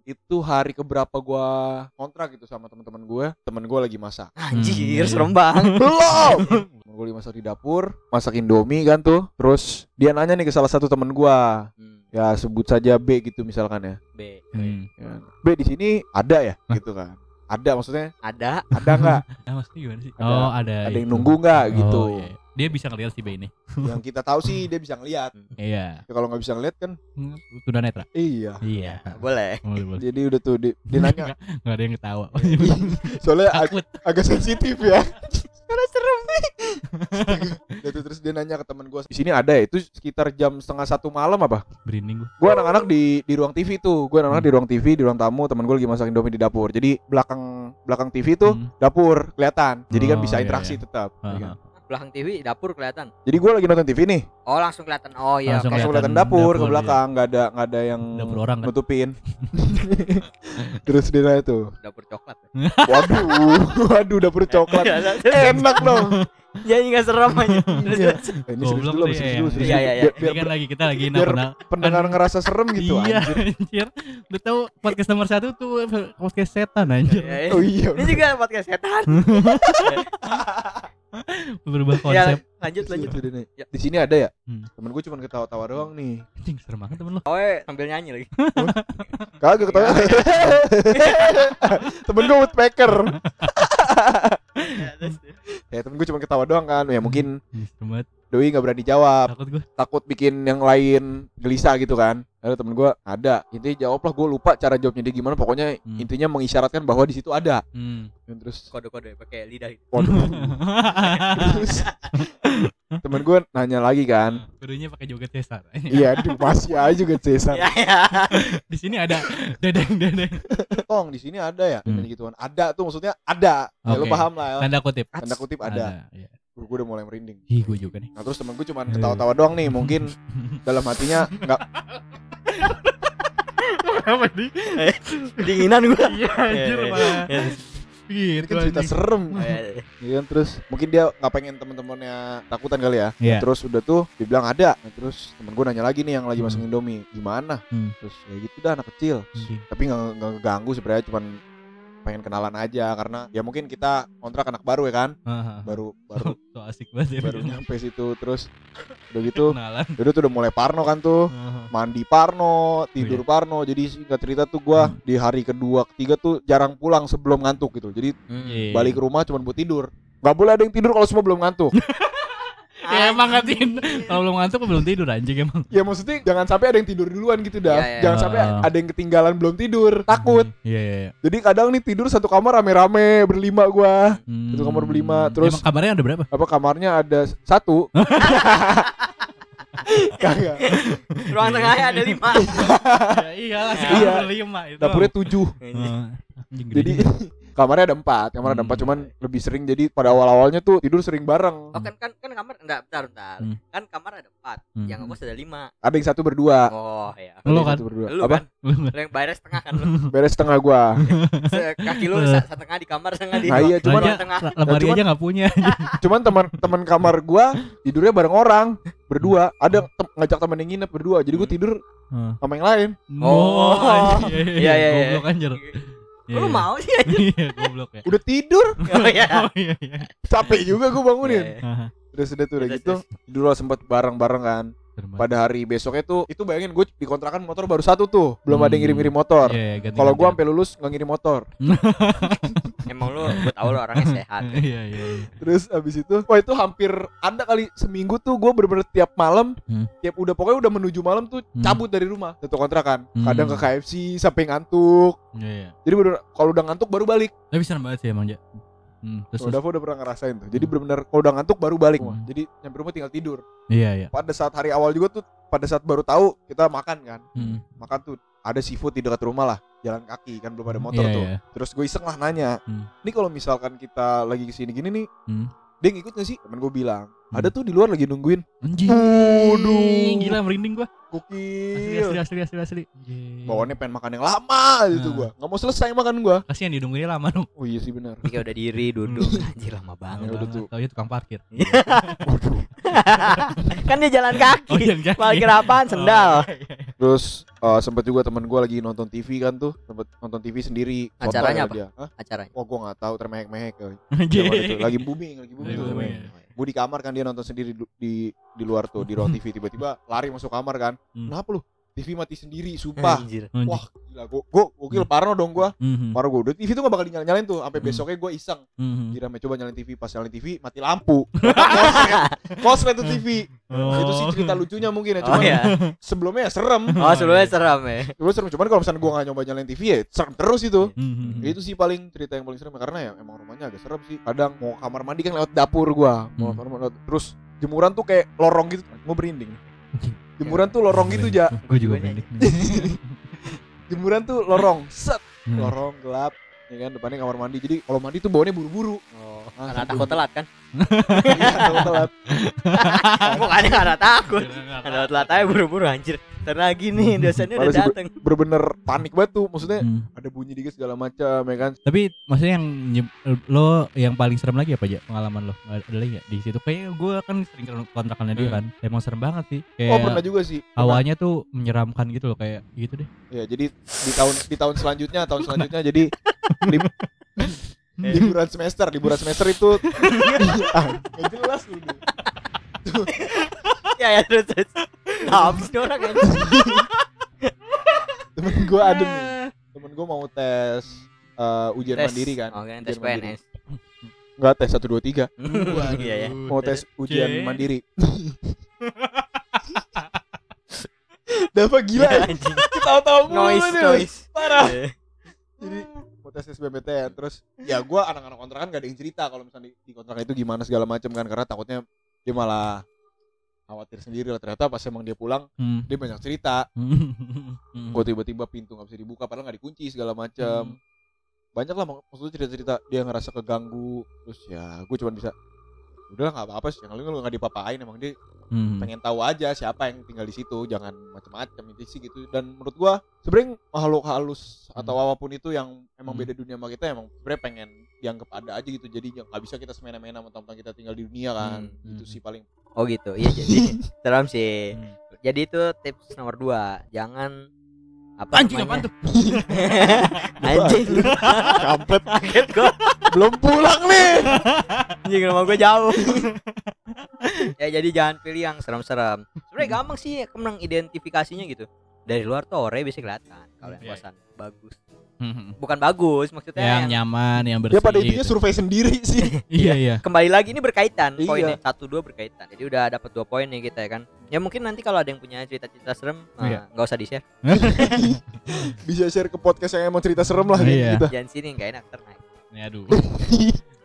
Speaker 4: itu hari keberapa gua kontrak gitu sama teman-teman gue teman gue lagi masak
Speaker 2: Anjir,
Speaker 3: iya.
Speaker 2: serem banget.
Speaker 4: belum temen gue lagi masak di dapur masak indomie kan tuh terus dia nanya nih ke salah satu teman gua
Speaker 2: Hmm,
Speaker 4: ya sebut saja B gitu misalkan ya,
Speaker 2: B.
Speaker 3: Hmm.
Speaker 4: Ya, B di sini ada ya gitu kan ada maksudnya
Speaker 2: Ada.
Speaker 4: ada nggak
Speaker 3: Nah, maksudnya gimana sih?
Speaker 4: Ada-
Speaker 3: oh, ada
Speaker 4: ada yang
Speaker 3: itu.
Speaker 4: nunggu nggak
Speaker 3: Oh,
Speaker 4: gitu
Speaker 3: iya, iya. Dia bisa ngeliat si B ini.
Speaker 4: yang kita tahu sih dia bisa ngeliat
Speaker 3: Iya.
Speaker 4: ya, kalau nggak bisa ngeliat kan
Speaker 3: Tunda netra.
Speaker 4: iya
Speaker 3: Iya.
Speaker 2: Boleh.
Speaker 3: Boleh, boleh.
Speaker 4: Jadi udah tuh di, dia nanya
Speaker 3: <laughs> Nggak- nggak ada yang ketawa.
Speaker 4: soalnya ag-
Speaker 3: Takut.
Speaker 4: agak sensitif
Speaker 3: <laughs>
Speaker 4: ya. Karena serem nih. Udah tuh, terus dia nanya ke teman gue di sini ada ya itu sekitar jam setengah satu malam apa?
Speaker 3: Berinding gue.
Speaker 4: Gue anak-anak di di ruang TV tuh, gue anak-anak di
Speaker 3: Hmm.
Speaker 4: ruang TV di ruang tamu teman gue lagi masak indomie di dapur. Jadi belakang belakang TV tuh
Speaker 3: Hmm.
Speaker 4: dapur kelihatan. Jadi kan
Speaker 3: Oh,
Speaker 4: bisa
Speaker 3: iya,
Speaker 4: interaksi
Speaker 3: iya.
Speaker 4: tetap. ya
Speaker 3: Aha.
Speaker 4: kan?
Speaker 2: Belakang TV dapur kelihatan.
Speaker 4: Jadi gue lagi nonton TV nih,
Speaker 2: Oh, langsung kelihatan. Oh iya.
Speaker 3: Langsung
Speaker 2: oke.
Speaker 4: langsung
Speaker 3: Kelihatan
Speaker 4: kelihatan dapur, ke
Speaker 3: dapur, iya.
Speaker 4: belakang, nggak ada nggak ada yang
Speaker 3: Dapur orang kan. <laughs>
Speaker 4: nutupin. terus dia nanya tuh,
Speaker 2: Dapur coklat.
Speaker 4: waduh, <laughs> waduh dapur coklat, enak dong.
Speaker 2: Jadi enggak serem aja. Terus,
Speaker 4: Iya.
Speaker 2: terus.
Speaker 4: Eh, Ini
Speaker 3: Goblok
Speaker 4: serius dulu,
Speaker 3: sih,
Speaker 4: serius
Speaker 3: iya.
Speaker 4: dulu, serius
Speaker 2: Iya,
Speaker 4: dulu.
Speaker 2: iya, iya.
Speaker 4: Biar-
Speaker 3: Ini
Speaker 4: biar
Speaker 3: kan lagi kita lagi
Speaker 4: biar
Speaker 3: nakal.
Speaker 4: pendengar ngerasa serem gitu
Speaker 3: iya,
Speaker 4: anjir.
Speaker 3: <laughs> anjir. Udah tahu podcast nomor satu tuh podcast setan anjir.
Speaker 2: Ya, ya.
Speaker 4: Oh
Speaker 2: <laughs>
Speaker 4: iya.
Speaker 2: Ini juga podcast setan.
Speaker 4: Iya.
Speaker 3: Berubah
Speaker 2: Ya,
Speaker 3: konsep.
Speaker 2: lanjut lanjut.
Speaker 4: Lanjut deh.
Speaker 2: Ya. Hmm.
Speaker 4: Di sini ada ya?
Speaker 3: Hmm.
Speaker 4: Temen gue cuma ketawa-tawa doang nih.
Speaker 3: Anjing serem banget temen lo.
Speaker 2: Oh, eh, sambil nyanyi lagi. Iya.
Speaker 4: Kagak ketawa.
Speaker 2: <laughs>
Speaker 4: <laughs> temen gue woodpecker.
Speaker 2: Ya, terus-
Speaker 4: Ya temen gue cuma ketawa doang kan. Ya mungkin
Speaker 3: Ih, Serem banget.
Speaker 4: Doi nggak berani jawab,
Speaker 3: Takut gue.
Speaker 4: takut bikin yang lain gelisah gitu kan. Ada temen gue ada. Intinya jawab lah gue lupa cara jawabnya dia gimana. Pokoknya
Speaker 3: Hmm.
Speaker 4: intinya mengisyaratkan bahwa di situ ada.
Speaker 3: Hmm.
Speaker 4: Dan
Speaker 3: <laughs>
Speaker 4: terus
Speaker 2: kode-kode pakai lidah gitu.
Speaker 4: waduh. terus temen gue nanya lagi kan.
Speaker 3: Gurunya pakai joget Cesar.
Speaker 4: Iya, aduh, masih aja juga Cesar.
Speaker 2: Ya, ya.
Speaker 3: <laughs> Di sini ada dedeng dedeng.
Speaker 4: Eh, Tong, di sini ada ya?
Speaker 3: Hmm.
Speaker 4: Dan gitu kan. Ada tuh maksudnya ada. Ya lu
Speaker 3: Oke.
Speaker 4: paham lah. ya.
Speaker 3: Tanda kutip.
Speaker 4: Tanda kutip ada.
Speaker 3: Iya.
Speaker 4: Gue udah mulai merinding.
Speaker 3: Ih, gue juga nih.
Speaker 4: Nah, terus temen gue cuman ketawa-tawa doang nih, mungkin dalam hatinya nggak
Speaker 3: Apa nih?
Speaker 2: Dinginan gua.
Speaker 3: Iya, <laughs> anjir
Speaker 2: Iya, iya.
Speaker 3: malah.
Speaker 4: Ini
Speaker 3: Gitu
Speaker 4: kan cerita
Speaker 3: anjing.
Speaker 4: serem.
Speaker 2: Eh,
Speaker 4: Iya kan terus mungkin dia nggak pengen temen-temennya takutan kali ya.
Speaker 3: Iya.
Speaker 4: Nah, terus udah tuh dibilang ada. Nah, terus temen gue nanya lagi nih yang lagi
Speaker 3: Hmm.
Speaker 4: masuk Indomie gimana?
Speaker 3: Hmm.
Speaker 4: Terus ya gitu dah anak kecil.
Speaker 3: Anjing.
Speaker 4: Tapi nggak nggak ngeganggu sebenarnya cuman pengen kenalan aja karena ya mungkin kita kontrak anak baru ya kan
Speaker 3: Hahaha.
Speaker 4: baru baru
Speaker 3: So, <laughs> so asik banget ya.
Speaker 4: baru nyampe situ terus udah gitu
Speaker 3: kenalan.
Speaker 4: udah tuh udah mulai parno kan tuh
Speaker 3: Hahaha.
Speaker 4: mandi
Speaker 3: Oh,
Speaker 4: parno tidur
Speaker 3: iya.
Speaker 4: parno jadi singkat cerita tuh
Speaker 3: Hmm.
Speaker 4: gua di hari kedua ketiga tuh jarang pulang sebelum ngantuk gitu jadi
Speaker 3: Iya.
Speaker 4: balik ke rumah cuman buat tidur nggak boleh ada yang tidur kalau semua
Speaker 3: <laughs>
Speaker 4: belum ngantuk
Speaker 3: Ya emang nggak tidur. <laughs> Kalau belum ngantuk belum tidur anjing emang.
Speaker 4: ya maksudnya jangan sampai ada yang tidur duluan gitu dah
Speaker 2: Iya, iya.
Speaker 4: jangan sampai
Speaker 3: Ah.
Speaker 4: ada yang ketinggalan belum tidur takut
Speaker 3: Iya iya. iya.
Speaker 4: jadi kadang nih tidur satu kamar rame-rame berlima gua
Speaker 3: Hmm.
Speaker 4: Itu kamar berlima, terus-
Speaker 3: Emang kabarnya ada berapa?
Speaker 4: apa kamarnya ada s- satu kagak
Speaker 2: Ruang tengahnya ada lima.
Speaker 3: <laughs> ya, iya lah
Speaker 4: sekarang Iya.
Speaker 3: berlima itu.
Speaker 4: dapurnya tujuh jadi kamarnya ada empat kamar ada
Speaker 3: Hmm.
Speaker 4: empat cuman lebih sering jadi pada awal awalnya tuh tidur sering bareng
Speaker 2: Oh kan kan kan kamar enggak bentar bentar.
Speaker 3: Hmm.
Speaker 2: Kan kamar ada empat,
Speaker 3: Hmm.
Speaker 2: yang ngekos ada lima.
Speaker 4: ada yang satu berdua
Speaker 2: Oh ya.
Speaker 3: Lu
Speaker 4: Ada yang
Speaker 3: kan?
Speaker 4: satu berdua.
Speaker 2: Lu
Speaker 4: apa
Speaker 2: kan? Lu yang bayarnya setengah kan lu.
Speaker 4: beres setengah
Speaker 3: <laughs>
Speaker 4: gua
Speaker 2: Se- Kaki lu sa- setengah di kamar, setengah di
Speaker 4: Nah, iya, cuman-
Speaker 2: ruang tengah.
Speaker 3: lemari
Speaker 4: cuman-
Speaker 3: aja nggak punya.
Speaker 4: cuman teman teman kamar gua tidurnya bareng orang berdua
Speaker 3: Hmm.
Speaker 4: ada yang tem- ngajak temen yang nginep berdua jadi gua
Speaker 2: Hmm.
Speaker 4: tidur
Speaker 3: Heeh. <laughs>
Speaker 4: sama yang lain
Speaker 3: Oh, anjing.
Speaker 2: Iya, iya, iya.
Speaker 3: Goblok anjir.
Speaker 2: Kok Lu mau sih?
Speaker 3: <laughs>
Speaker 2: <laughs>
Speaker 3: Iya, goblok <laughs> ya.
Speaker 4: udah tidur
Speaker 2: Oh iya.
Speaker 3: Oh iya iya.
Speaker 4: capek juga gua
Speaker 3: <laughs>
Speaker 4: bangunin
Speaker 2: Iya, iya.
Speaker 3: Haha,
Speaker 4: terus udah tuh udah
Speaker 2: Terus,
Speaker 4: gitu tidur lah sempet bareng bareng kan
Speaker 3: serem banget.
Speaker 4: pada hari besoknya tuh itu bayangin gue dikontrakan motor baru satu tuh belum ada yang
Speaker 3: Hmm.
Speaker 4: ngirim-ngirim motor
Speaker 3: Iya, iya, ganti-ganti.
Speaker 4: kalau
Speaker 3: <laughs>
Speaker 4: gua sampai lulus nggak ngirim motor
Speaker 2: Emang lu gue tau lu orangnya
Speaker 4: <laughs>
Speaker 2: sehat. ya?
Speaker 3: Iya iya. iya.
Speaker 4: terus abis itu wah itu hampir ada kali seminggu tuh gue bener-bener tiap malam
Speaker 3: Hmm.
Speaker 4: tiap udah pokoknya udah menuju malam tuh
Speaker 3: Hmm.
Speaker 4: cabut dari rumah satu kontrakan
Speaker 3: Hmm.
Speaker 4: kadang ke KFC sampai ngantuk
Speaker 3: Iya iya.
Speaker 4: jadi bener kalau udah ngantuk baru balik
Speaker 3: Tapi serem banget sih emang ya. Hmm, terus terus.
Speaker 4: udah udah pernah ngerasain tuh jadi bener-bener kalau udah ngantuk baru balik
Speaker 3: Hmm.
Speaker 4: jadi nyampe rumah tinggal tidur
Speaker 3: Iya iya.
Speaker 4: pada saat hari awal juga tuh pada saat baru tahu kita makan kan
Speaker 3: Hmm.
Speaker 4: makan tuh ada seafood di dekat rumah lah jalan kaki kan belum ada motor
Speaker 3: Iya,
Speaker 4: tuh
Speaker 3: iya.
Speaker 4: Terus gue iseng lah nanya,
Speaker 3: Hmm.
Speaker 4: ini kalau misalkan kita lagi kesini gini nih,
Speaker 3: Hmm.
Speaker 4: dia ngikut gak sih? Temen gue bilang,
Speaker 3: Hmm.
Speaker 4: ada tuh di luar lagi nungguin.
Speaker 3: Anjing.
Speaker 4: Waduh. Iya.
Speaker 3: Gila merinding gua. Asli asli
Speaker 4: Gokil.
Speaker 3: asli asli asli. Anjing.
Speaker 4: Bawaannya pengen makan yang lama gitu
Speaker 3: Nah.
Speaker 4: gue. Nggak mau selesai makan gue.
Speaker 3: Kasihan didungguin lama dong.
Speaker 4: Oh iya sih benar.
Speaker 2: Mika udah diri duduk anjir lama
Speaker 4: Ya
Speaker 2: banget.
Speaker 4: udah tuh.
Speaker 3: Taunya tukang parkir.
Speaker 4: Waduh.
Speaker 2: kan dia jalan
Speaker 3: Oh,
Speaker 4: iya.
Speaker 2: kaki.
Speaker 3: yang kaki.
Speaker 2: Parkir apaan sendal.
Speaker 3: <laughs> Oh, iya, iya.
Speaker 4: Terus eh, sempet juga temen gue lagi nonton TV kan tuh, sempet nonton TV sendiri. Sotoy
Speaker 2: Acaranya
Speaker 4: lah
Speaker 2: apa?
Speaker 4: dia. Hah?
Speaker 2: iya. Acaranya.
Speaker 4: Oh gue nggak tahu termehek-mehek. eh,
Speaker 3: Anjing.
Speaker 4: zaman itu. Lagi booming, lagi booming.
Speaker 3: Lagi booming.
Speaker 4: Gue di kamar kan dia nonton sendiri du- di di luar tuh di ruang
Speaker 3: <laughs>
Speaker 4: TV tiba-tiba lari masuk kamar kan.
Speaker 3: Hmm. Eh.
Speaker 4: Kenapa lu? TV mati sendiri, sumpah.
Speaker 2: Anjir.
Speaker 3: Anjing.
Speaker 4: Wah, gila gua gua gokil
Speaker 3: Hmm.
Speaker 4: parno dong gua.
Speaker 3: Mhm.
Speaker 4: Parno gua. Udah TV tuh gak bakal dinyalain tuh sampai
Speaker 3: Hmm.
Speaker 4: besoknya gua iseng.
Speaker 3: Mhm.
Speaker 4: Kira coba nyalain TV, pas nyalain TV mati lampu. Koslet. Koslet tuh TV.
Speaker 3: Oh.
Speaker 4: Itu sih cerita lucunya mungkin ya,
Speaker 2: Oh
Speaker 4: cuman
Speaker 2: iya.
Speaker 4: sebelumnya ya serem.
Speaker 2: Oh sebelumnya seram ya.
Speaker 4: Dulu serem cuman kalau misalnya gua gak nyoba nyalain TV ya serem terus itu.
Speaker 3: Mhm.
Speaker 4: Itu sih paling cerita yang paling serem ya, karena ya emang rumahnya agak serem sih. Kadang mau kamar mandi kan lewat dapur gua, mau
Speaker 3: Hmm.
Speaker 4: kamar mandi lewat- terus jemuran tuh kayak lorong gitu, gua berinding. Jemuran tuh lorong gitu
Speaker 3: <laughs>
Speaker 4: ja,
Speaker 3: Gue juga
Speaker 2: Gua
Speaker 3: pendek.
Speaker 4: jemuran tuh lorong, set
Speaker 3: Hmm.
Speaker 4: lorong gelap ya kan depannya kamar mandi jadi kalau mandi tuh baunya buru-buru
Speaker 2: Oh,
Speaker 4: Ah,
Speaker 2: karena
Speaker 4: aduh.
Speaker 2: takut telat <laughs> kan?
Speaker 4: Iya, kalau telat
Speaker 2: Bukannya Oh, karena takut.
Speaker 3: Gila,
Speaker 2: Karena telat aja buru-buru anjir. Ntar lagi nih dosennya udah
Speaker 4: Malah sih, Bu.
Speaker 2: dateng.
Speaker 4: bener-bener panik banget tuh maksudnya
Speaker 3: Hmm.
Speaker 4: ada bunyi dikit segala macam ya kan
Speaker 3: Tapi maksudnya yang nyeb- lo yang paling serem lagi apa aja pengalaman lo? Ada lagi nggak di situ? Kayaknya gue kan sering ke kontrakannya dia
Speaker 2: Hmm.
Speaker 3: kan. Emang serem banget sih. Kayak
Speaker 4: oh pernah juga sih Pernah.
Speaker 3: awalnya tuh menyeramkan gitu loh kayak gitu deh.
Speaker 4: ya jadi di tahun di tahun selanjutnya tahun selanjutnya jadi
Speaker 2: <laughs>
Speaker 4: lim- liburan semester liburan semester itu Ah, nggak jelas lu nih.
Speaker 2: Ya ya terus terus. Nah, habis nih orang anjir.
Speaker 4: temen gue ada nih temen gue mau tes eh, ujian
Speaker 2: Tes.
Speaker 4: mandiri kan
Speaker 2: Oh, kan tes
Speaker 4: Ujian mandiri.
Speaker 2: PNS.
Speaker 4: nggak tes satu dua tiga
Speaker 3: Hmm,
Speaker 2: Iya ya.
Speaker 4: mau Oh, tes
Speaker 3: Cie.
Speaker 4: ujian mandiri <laughs> Dapat
Speaker 2: <laughs>
Speaker 4: gila ya
Speaker 2: Anjing.
Speaker 4: Tahu-tahu
Speaker 2: Noise noise.
Speaker 4: Parah
Speaker 2: Iya.
Speaker 4: Jadi mau tes SBMPTN Terus ya gua anak-anak kontrakan gak ada yang cerita Kalau misalnya di, di kontrakan itu gimana segala macam kan Karena takutnya dia malah khawatir sendiri lah Ternyata pas emang dia pulang
Speaker 3: Hmm.
Speaker 4: Dia banyak cerita
Speaker 3: Hmm.
Speaker 4: Gua tiba-tiba pintu gak bisa dibuka Padahal gak dikunci segala macam Banyak lah mak- maksudnya cerita-cerita Dia ngerasa keganggu Terus ya gue cuma bisa Udah gak apa-apa sih Yang lain lu gak dipapain Emang dia
Speaker 3: Hmm.
Speaker 4: pengen tahu aja siapa yang tinggal di situ jangan macam-macam itu sih gitu dan menurut gua sebenarnya makhluk halus atau apapun itu yang emang
Speaker 3: Hmm.
Speaker 4: beda dunia sama kita emang sebenarnya pengen dianggap ada aja gitu jadinya nggak bisa kita semena-mena mentang-mentang kita tinggal di dunia kan
Speaker 3: Hmm.
Speaker 4: itu
Speaker 3: Hmm.
Speaker 4: sih
Speaker 3: <laughs>
Speaker 4: paling
Speaker 2: Oh gitu. Iya jadi serem sih.
Speaker 3: Hmm.
Speaker 2: Jadi itu tips nomor dua jangan apa
Speaker 3: Anjing apaan
Speaker 2: namanya?
Speaker 3: tuh?
Speaker 2: Anjing.
Speaker 4: kampret
Speaker 2: Kaget gua.
Speaker 4: belum pulang nih
Speaker 2: Anjing rumah gua jauh. ya jadi jangan pilih yang serem-serem. Sebenarnya gampang sih menang identifikasinya gitu. Dari luar tuh ore bisa kelihatan kalau yang
Speaker 3: Iya.
Speaker 2: kosan bagus.
Speaker 3: Hmm.
Speaker 2: Bukan bagus maksudnya
Speaker 3: yang
Speaker 2: yang-
Speaker 3: nyaman, yang bersih.
Speaker 4: dia Ya, pada intinya
Speaker 3: gitu.
Speaker 4: survei sendiri sih
Speaker 3: <laughs> Iya iya.
Speaker 2: kembali lagi ini berkaitan
Speaker 4: Iya.
Speaker 2: poinnya satu dua berkaitan jadi udah dapat dua poin nih kita ya kan ya mungkin nanti kalau ada yang punya cerita-cerita serem eh,
Speaker 3: Iya.
Speaker 2: nggak usah di share
Speaker 4: bisa share ke podcast yang emang cerita serem lah gitu
Speaker 3: Iya.
Speaker 4: kita
Speaker 2: jangan sini nggak enak ternaik
Speaker 3: Nih, aduh.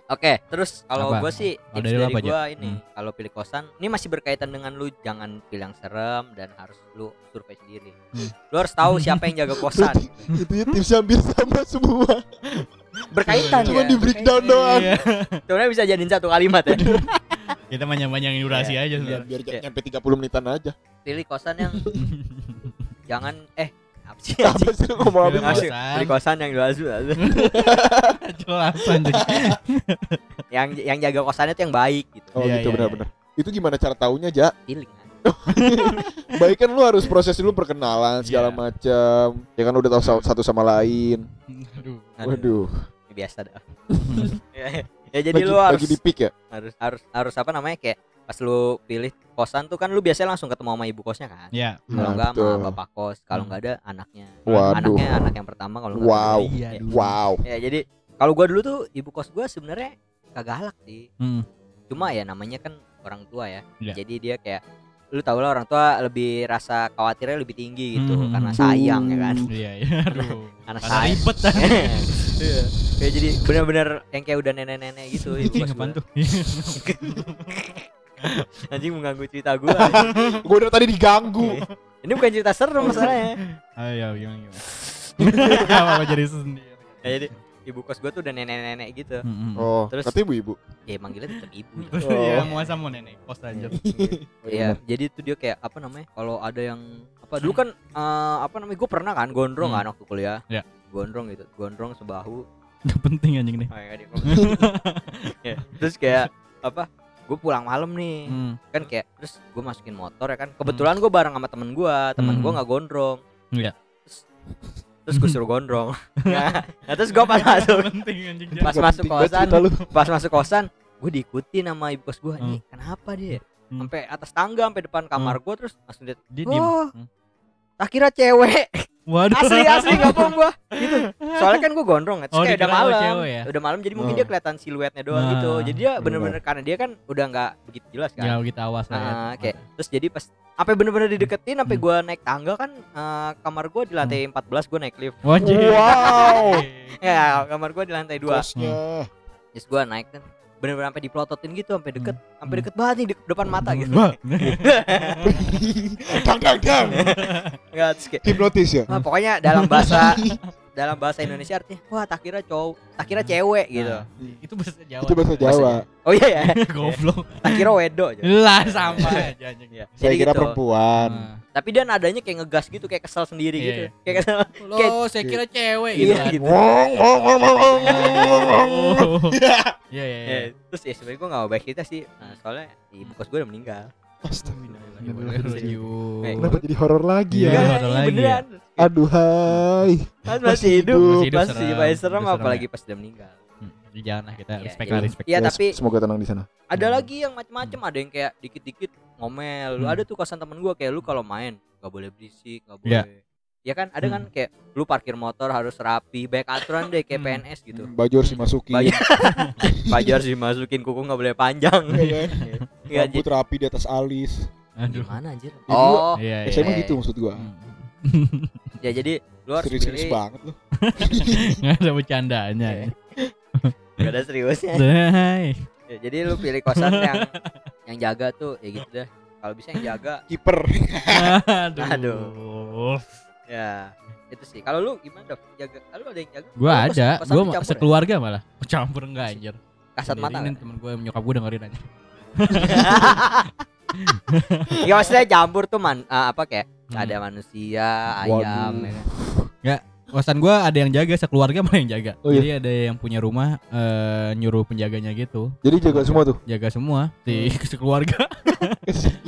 Speaker 2: oke terus kalau
Speaker 3: Apa?
Speaker 2: gue sih tips
Speaker 3: Oh, dari lu
Speaker 2: dari
Speaker 3: apa aja?
Speaker 2: gue ini kalau pilih kosan ini masih berkaitan dengan lu jangan pilih yang serem dan harus lu survei sendiri
Speaker 3: Hmm.
Speaker 2: lu harus tahu siapa yang jaga kosan
Speaker 4: itu
Speaker 3: <laughs>
Speaker 4: ya tipsnya hampir sama semua
Speaker 2: berkaitan
Speaker 4: cuma
Speaker 2: ya
Speaker 4: di breakdown doang
Speaker 3: Iya.
Speaker 2: sebenarnya bisa jadiin satu kalimat ya
Speaker 3: Kita manjang-manjangin durasi aja
Speaker 4: biar,
Speaker 3: sebenarnya.
Speaker 4: biar
Speaker 2: Iya.
Speaker 4: nyampe 30 menitan aja
Speaker 2: pilih kosan yang jangan eh apa sih
Speaker 4: apa sih lu ngomong apa
Speaker 3: Pilih
Speaker 2: Asik.
Speaker 3: kosan.
Speaker 2: pilih kosan yang jelas jelas.
Speaker 3: Jelas
Speaker 4: <laughs>
Speaker 3: anjing.
Speaker 2: yang yang jaga kosannya tuh yang baik gitu
Speaker 4: oh
Speaker 3: Iya,
Speaker 4: gitu
Speaker 3: iya,
Speaker 4: benar-benar itu gimana cara taunya ja
Speaker 2: feeling kan.
Speaker 4: baik kan lu harus proses dulu perkenalan segala
Speaker 3: Iya.
Speaker 4: macam ya kan udah tahu sa- satu sama lain
Speaker 3: Aduh.
Speaker 4: waduh
Speaker 2: Ini biasa dah <laughs> ya ya jadi
Speaker 4: lagi,
Speaker 2: lu harus
Speaker 4: lagi di pick ya
Speaker 2: harus harus harus apa namanya kayak pas lu pilih kosan tuh kan lu biasanya langsung ketemu sama ibu kosnya kan
Speaker 3: Ya.
Speaker 2: kalau
Speaker 4: Nah,
Speaker 2: enggak
Speaker 4: betul.
Speaker 2: sama bapak kos kalau
Speaker 3: Hmm.
Speaker 2: enggak ada anaknya
Speaker 4: Waduh.
Speaker 2: anaknya anak yang pertama kalau enggak
Speaker 4: Wow.
Speaker 2: kedua.
Speaker 3: Iya,
Speaker 2: ya,
Speaker 3: dulu.
Speaker 4: wow
Speaker 2: ya, jadi kalau gua dulu tuh ibu kos gua sebenarnya kagak galak sih
Speaker 3: Hmm.
Speaker 2: cuma ya namanya kan orang tua ya
Speaker 3: Iya.
Speaker 2: jadi dia kayak lu tau lah orang tua lebih rasa khawatirnya lebih tinggi gitu
Speaker 3: Hmm.
Speaker 2: karena sayang ya kan
Speaker 3: Iya iya. Aduh.
Speaker 2: Karena
Speaker 3: Karena
Speaker 2: sayang.
Speaker 3: ribet kan.
Speaker 2: <laughs> Iya. Kayak jadi benar-benar yang kayak udah nenek-nenek
Speaker 3: <laughs>
Speaker 2: gitu. ibu
Speaker 3: Anjing
Speaker 2: kos
Speaker 3: apaan
Speaker 2: gua.
Speaker 3: tuh?
Speaker 2: Anjing mengganggu cerita gua.
Speaker 4: gue dari tadi
Speaker 2: Iya.
Speaker 4: diganggu
Speaker 2: Ini bukan cerita serem masalahnya.
Speaker 3: Ayo Oh, iya, gimana gimana. <laughs> Gak apa-apa jadi sendiri.
Speaker 2: Ya, jadi ibu kos gua tuh udah nenek-nenek gitu.
Speaker 3: Mm-mm.
Speaker 4: oh
Speaker 2: Terus-
Speaker 4: katanya ibu-ibu
Speaker 2: Ya manggilnya tetap ibu. ya.
Speaker 3: Terus
Speaker 4: Oh.
Speaker 3: ya mau sama nenek kos aja.
Speaker 2: Iya, jadi itu dia kayak apa namanya? Kalau ada yang apa dulu kan eh, apa namanya? Gue pernah kan gondrong
Speaker 3: Hmm.
Speaker 2: kan waktu kuliah.
Speaker 3: Iya.
Speaker 2: Gondrong gitu, gondrong sebahu.
Speaker 3: Gak penting anjing nih.
Speaker 2: Oh, iya, dia ngomong. Ya, <laughs> Terus kayak apa? Gue pulang malam nih.
Speaker 3: <laughs> Hmm.
Speaker 2: kan kayak terus gue masukin motor ya kan kebetulan gue bareng sama temen gue temen gue
Speaker 3: Hmm.
Speaker 2: nggak gondrong
Speaker 3: Iya.
Speaker 2: terus, terus gue suruh <laughs> gondrong nah, nah, terus gue pas masuk
Speaker 3: penting anjing
Speaker 2: <laughs> pas
Speaker 4: Gak
Speaker 2: masuk
Speaker 4: penting banget
Speaker 2: kosan
Speaker 4: cerita lu.
Speaker 2: pas masuk kosan gue diikutin sama ibu kos gue ini kenapa dia ya?"
Speaker 3: Hmm.
Speaker 2: sampai atas tangga sampai depan kamar gue terus langsung dia
Speaker 3: Dia diem.
Speaker 2: oh
Speaker 3: Hmm.
Speaker 2: tak kira cewek <laughs>
Speaker 3: Waduh.
Speaker 2: asli asli nggak bohong gue gitu soalnya kan gue gondrong terus
Speaker 3: Oh,
Speaker 2: kayak udah
Speaker 3: dikira lo
Speaker 2: malam
Speaker 3: cewek ya?
Speaker 2: udah malam jadi mungkin
Speaker 4: Oh.
Speaker 2: dia kelihatan siluetnya doang
Speaker 3: Nah. iya.
Speaker 2: gitu jadi dia bener-bener karena dia kan udah nggak begitu jelas kan
Speaker 3: Jauh kita awas lah. <laughs> ya.
Speaker 2: Nah, kayak terus jadi pas apa bener-bener dideketin sampai
Speaker 3: Hmm.
Speaker 2: gua naik tangga kan eh, kamar gua di lantai 14 gua naik lift.
Speaker 3: Wajib.
Speaker 4: Wow.
Speaker 2: <laughs> Ya,
Speaker 3: Hmm.
Speaker 2: kamar gua di lantai 2.
Speaker 4: <laughs> kosnya
Speaker 2: Terus gua naik kan bener-bener sampai dipelototin gitu sampai deket, sampai deket banget nih di depan mata gitu.
Speaker 3: Hmm. Wah.
Speaker 4: dang dang dang
Speaker 2: Enggak terus kayak
Speaker 4: hipnotis ya
Speaker 2: "Wah, Nah, pokoknya dalam
Speaker 4: <laughs>
Speaker 2: bahasa dalam bahasa Indonesia artinya wah tak kira cowok, tak kira cewek gitu.
Speaker 3: Nah, Itu bahasa Jawa.
Speaker 4: itu bahasa Jawa
Speaker 2: Oh iya ya,
Speaker 3: <laughs> Goblok.
Speaker 2: tak kira wedo aja.
Speaker 3: <laughs> Lah sama aja anjing.
Speaker 2: Iya. Jadi
Speaker 4: saya kira
Speaker 2: gitu.
Speaker 4: perempuan
Speaker 3: Nah.
Speaker 2: Tapi dia nadanya kayak ngegas gitu, kayak kesel sendiri
Speaker 3: Iya,
Speaker 2: gitu.
Speaker 3: iya.
Speaker 2: Kayak kesel.
Speaker 3: Lo saya kira cewek gitu.
Speaker 2: Iya
Speaker 3: kan.
Speaker 2: gitu.
Speaker 4: Wong, wong, wong, wong, wong, wong, wong, wong.
Speaker 3: <laughs> Oh. Iya iya iya.
Speaker 2: Ya, terus ya sebenarnya gua enggak baik cerita sih. Nah, soalnya ibu kos gua udah meninggal. iya,
Speaker 3: Astagfirullahaladzim.
Speaker 4: Kenapa jadi horor lagi
Speaker 3: Iya,
Speaker 4: ya?
Speaker 3: ada lagi
Speaker 2: beneran.
Speaker 4: Aduh hai.
Speaker 2: Kan masih hidup,
Speaker 3: Masih hidup
Speaker 2: masih
Speaker 3: serem.
Speaker 2: masih serem,
Speaker 3: Hidup serem
Speaker 2: apalagi pas dia meninggal.
Speaker 3: Hmm, jadi Janganlah kita
Speaker 2: Iya,
Speaker 3: respect
Speaker 2: iya.
Speaker 3: lah respect.
Speaker 2: Iya,
Speaker 4: Ya,
Speaker 2: tapi
Speaker 4: s- semoga tenang di sana.
Speaker 2: ada lagi yang macem-macem, ada yang kayak dikit-dikit ngomel. Lu
Speaker 3: Hmm.
Speaker 2: ada tuh kosan temen gua kayak lu kalau main nggak boleh berisik, nggak boleh.
Speaker 3: Iya.
Speaker 2: Ya kan ada kan kayak lu parkir motor harus rapi, banyak aturan deh kayak
Speaker 3: Hmm.
Speaker 2: PNS gitu.
Speaker 4: Hmm, Baju harus dimasuki.
Speaker 2: Baju- Baju harus dimasukin kuku nggak boleh panjang.
Speaker 3: <laughs>
Speaker 4: Iya kan?
Speaker 2: <laughs> Iya,
Speaker 4: Rambut rapi di atas alis.
Speaker 3: Aduh.
Speaker 2: gimana anjir?
Speaker 4: Ya,
Speaker 2: Oh,
Speaker 3: Iya
Speaker 4: Ya,
Speaker 3: iya.
Speaker 4: saya mah
Speaker 2: iya.
Speaker 4: gitu maksud gua.
Speaker 3: <laughs>
Speaker 2: ya jadi lu harus
Speaker 4: Serius-serius
Speaker 2: pilih.
Speaker 4: banget lu.
Speaker 3: Nggak ada bercandanya.
Speaker 2: Iya.
Speaker 3: ya.
Speaker 2: <laughs> Gak ada seriusnya.
Speaker 3: Hai.
Speaker 2: Ya, jadi lu pilih kosan yang yang jaga tuh ya gitu deh. Kalau bisa yang jaga
Speaker 4: Kiper.
Speaker 3: Aduh.
Speaker 2: Aduh. Ya, itu sih. Kalau lu gimana, Dov? Jaga. Lu ada yang jaga?
Speaker 3: Gua
Speaker 2: Lu kos-
Speaker 3: ada,
Speaker 2: kosan
Speaker 3: gua
Speaker 2: lu campur ya?
Speaker 3: sekeluarga malah. Campur enggak anjir.
Speaker 2: kasat mata.
Speaker 3: Ini temen gue nyokap gue dengerin aja.
Speaker 2: Enggak maksudnya campur tuh man ah, apa eh, kayak
Speaker 3: Hmm.
Speaker 2: ada manusia,
Speaker 4: Waduh.
Speaker 2: ayam ya kan?
Speaker 3: kosan gua ada yang jaga sekeluarga malah yang jaga
Speaker 4: Oh, iya.
Speaker 3: jadi ada yang punya rumah eh, nyuruh penjaganya gitu
Speaker 4: <laughs> Jadi jaga semua tuh.
Speaker 3: jaga semua di
Speaker 2: Hmm.
Speaker 3: <laughs> sekeluarga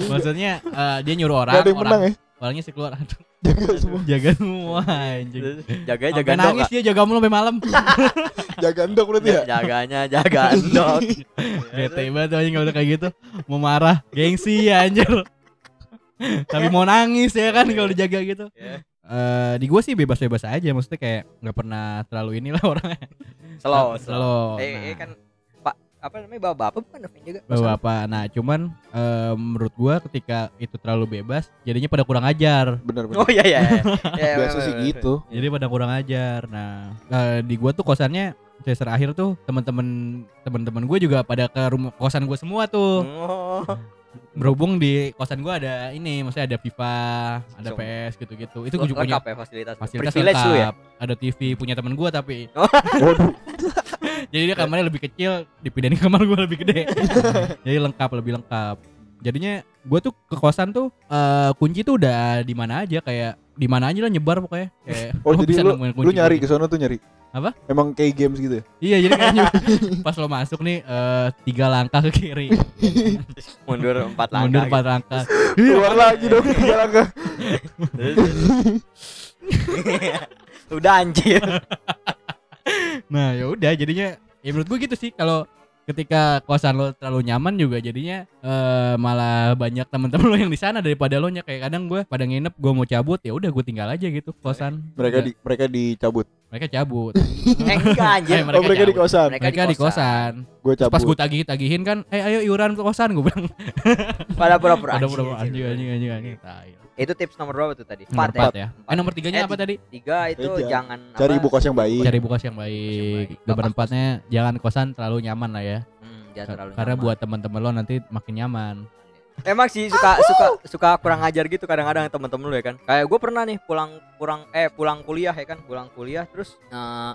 Speaker 3: maksudnya eh, dia nyuruh orang
Speaker 4: Gak ada yang
Speaker 3: orang
Speaker 4: menang ya.
Speaker 3: orangnya sekeluarga
Speaker 4: Jaga semua.
Speaker 3: jaga semua anjing
Speaker 2: Jaga jaga
Speaker 3: Sampai nangis dia jaga mulu sampai malam
Speaker 4: Jaga endok berarti ya.
Speaker 2: Jaganya jaga dok.
Speaker 3: Bete banget tuh anjing kalau udah kayak gitu Mau marah Gengsi ya anjir Tapi mau nangis ya kan kalau dijaga gitu
Speaker 2: Iya.
Speaker 3: Eh, Di gua sih bebas-bebas aja Maksudnya kayak nggak pernah terlalu inilah <laughs> orangnya
Speaker 2: Slow, slow.
Speaker 3: Slow
Speaker 2: Eh, eh,
Speaker 3: Nah,
Speaker 2: kan Pak apa namanya bapak-bapak bukan Noven juga.
Speaker 3: Bapak-bapak Nah cuman eh, Menurut gua ketika itu terlalu bebas Jadinya pada kurang ajar
Speaker 4: Benar-benar.
Speaker 2: Oh iya
Speaker 3: <laughs>
Speaker 2: iya. iya. Iya,
Speaker 4: Biasa
Speaker 2: bener,
Speaker 4: sih
Speaker 2: bener,
Speaker 4: gitu.
Speaker 3: Jadi pada kurang ajar Nah eh, Di gua tuh kosannya semester akhir tuh teman-teman teman-teman gue juga pada ke rumah kosan gue semua
Speaker 2: bener.
Speaker 3: tuh
Speaker 2: Oh.
Speaker 3: berhubung di kosan gua ada ini maksudnya ada FIFA ada
Speaker 2: Langsung.
Speaker 3: PS gitu-gitu itu
Speaker 2: Itu
Speaker 3: gue juga punya
Speaker 2: lengkap ya fasilitas.
Speaker 3: fasilitas
Speaker 2: Privilege
Speaker 3: lengkap
Speaker 2: lu ya.
Speaker 3: ada TV punya teman gua tapi
Speaker 4: Waduh.
Speaker 3: jadi dia kamarnya lebih kecil dipindahin ke kamar gua lebih gede jadi lengkap lebih lengkap jadinya gua tuh ke kosan tuh eh, kunci tuh udah di mana aja kayak di mana aja lah nyebar pokoknya kayak
Speaker 4: Oh,
Speaker 3: lo
Speaker 4: jadi
Speaker 3: bisa
Speaker 4: lu,
Speaker 3: nemuin
Speaker 4: lu nyari
Speaker 3: kunci. gitu.
Speaker 4: ke sana tuh nyari.
Speaker 3: Apa?
Speaker 4: Emang kayak games gitu ya.
Speaker 3: iya jadi kayaknya pas lo masuk nih eh, tiga langkah ke kiri
Speaker 2: Mundur empat langkah.
Speaker 3: mundur empat langkah
Speaker 4: Keluar lagi dong tiga langkah.
Speaker 2: gitu. <laughs> Udah
Speaker 3: <laughs>
Speaker 2: anjir.
Speaker 3: Nah, ya udah jadinya ya menurut gue gitu sih kalau ketika kosan lo terlalu nyaman juga jadinya eh, malah banyak teman-teman lo yang di sana daripada lo nya kayak kadang gue pada nginep gue mau cabut ya udah gue tinggal aja gitu kosan
Speaker 4: Mereka
Speaker 3: Ya,
Speaker 4: di mereka dicabut.
Speaker 3: mereka cabut
Speaker 2: Eh, enggak anjir.
Speaker 3: Eh,
Speaker 4: oh, mereka di
Speaker 3: cabut.
Speaker 4: kosan.
Speaker 2: Mereka
Speaker 3: mereka di kosan
Speaker 4: Gue
Speaker 3: Terus pas gue
Speaker 4: cabut.
Speaker 3: tagih tagihin kan eh ayo iuran ke kosan gue bilang
Speaker 2: Pada pura-pura.
Speaker 3: ada
Speaker 2: anjing,
Speaker 3: berapa
Speaker 2: anjing,
Speaker 3: anjing anjing anjing anjing
Speaker 2: Itu tips nomor berapa tuh tadi? ya.
Speaker 3: nomor empat ya eh nomor tiganya
Speaker 2: Eh,
Speaker 3: apa tadi
Speaker 2: Tiga itu
Speaker 4: Eh,
Speaker 2: jangan
Speaker 4: Cari
Speaker 2: apa,
Speaker 4: ibu kos yang baik.
Speaker 3: cari bukas yang baik
Speaker 2: baik.
Speaker 3: nomor empatnya jangan kosan terlalu nyaman lah ya
Speaker 2: Hmm, jangan terlalu
Speaker 3: karena
Speaker 2: nyaman.
Speaker 3: buat teman-teman lo nanti makin nyaman
Speaker 2: Emang sih suka suka suka kurang ajar gitu kadang-kadang temen-temen lu ya kan. Kayak gue pernah nih pulang kurang eh pulang kuliah ya kan, pulang kuliah terus eh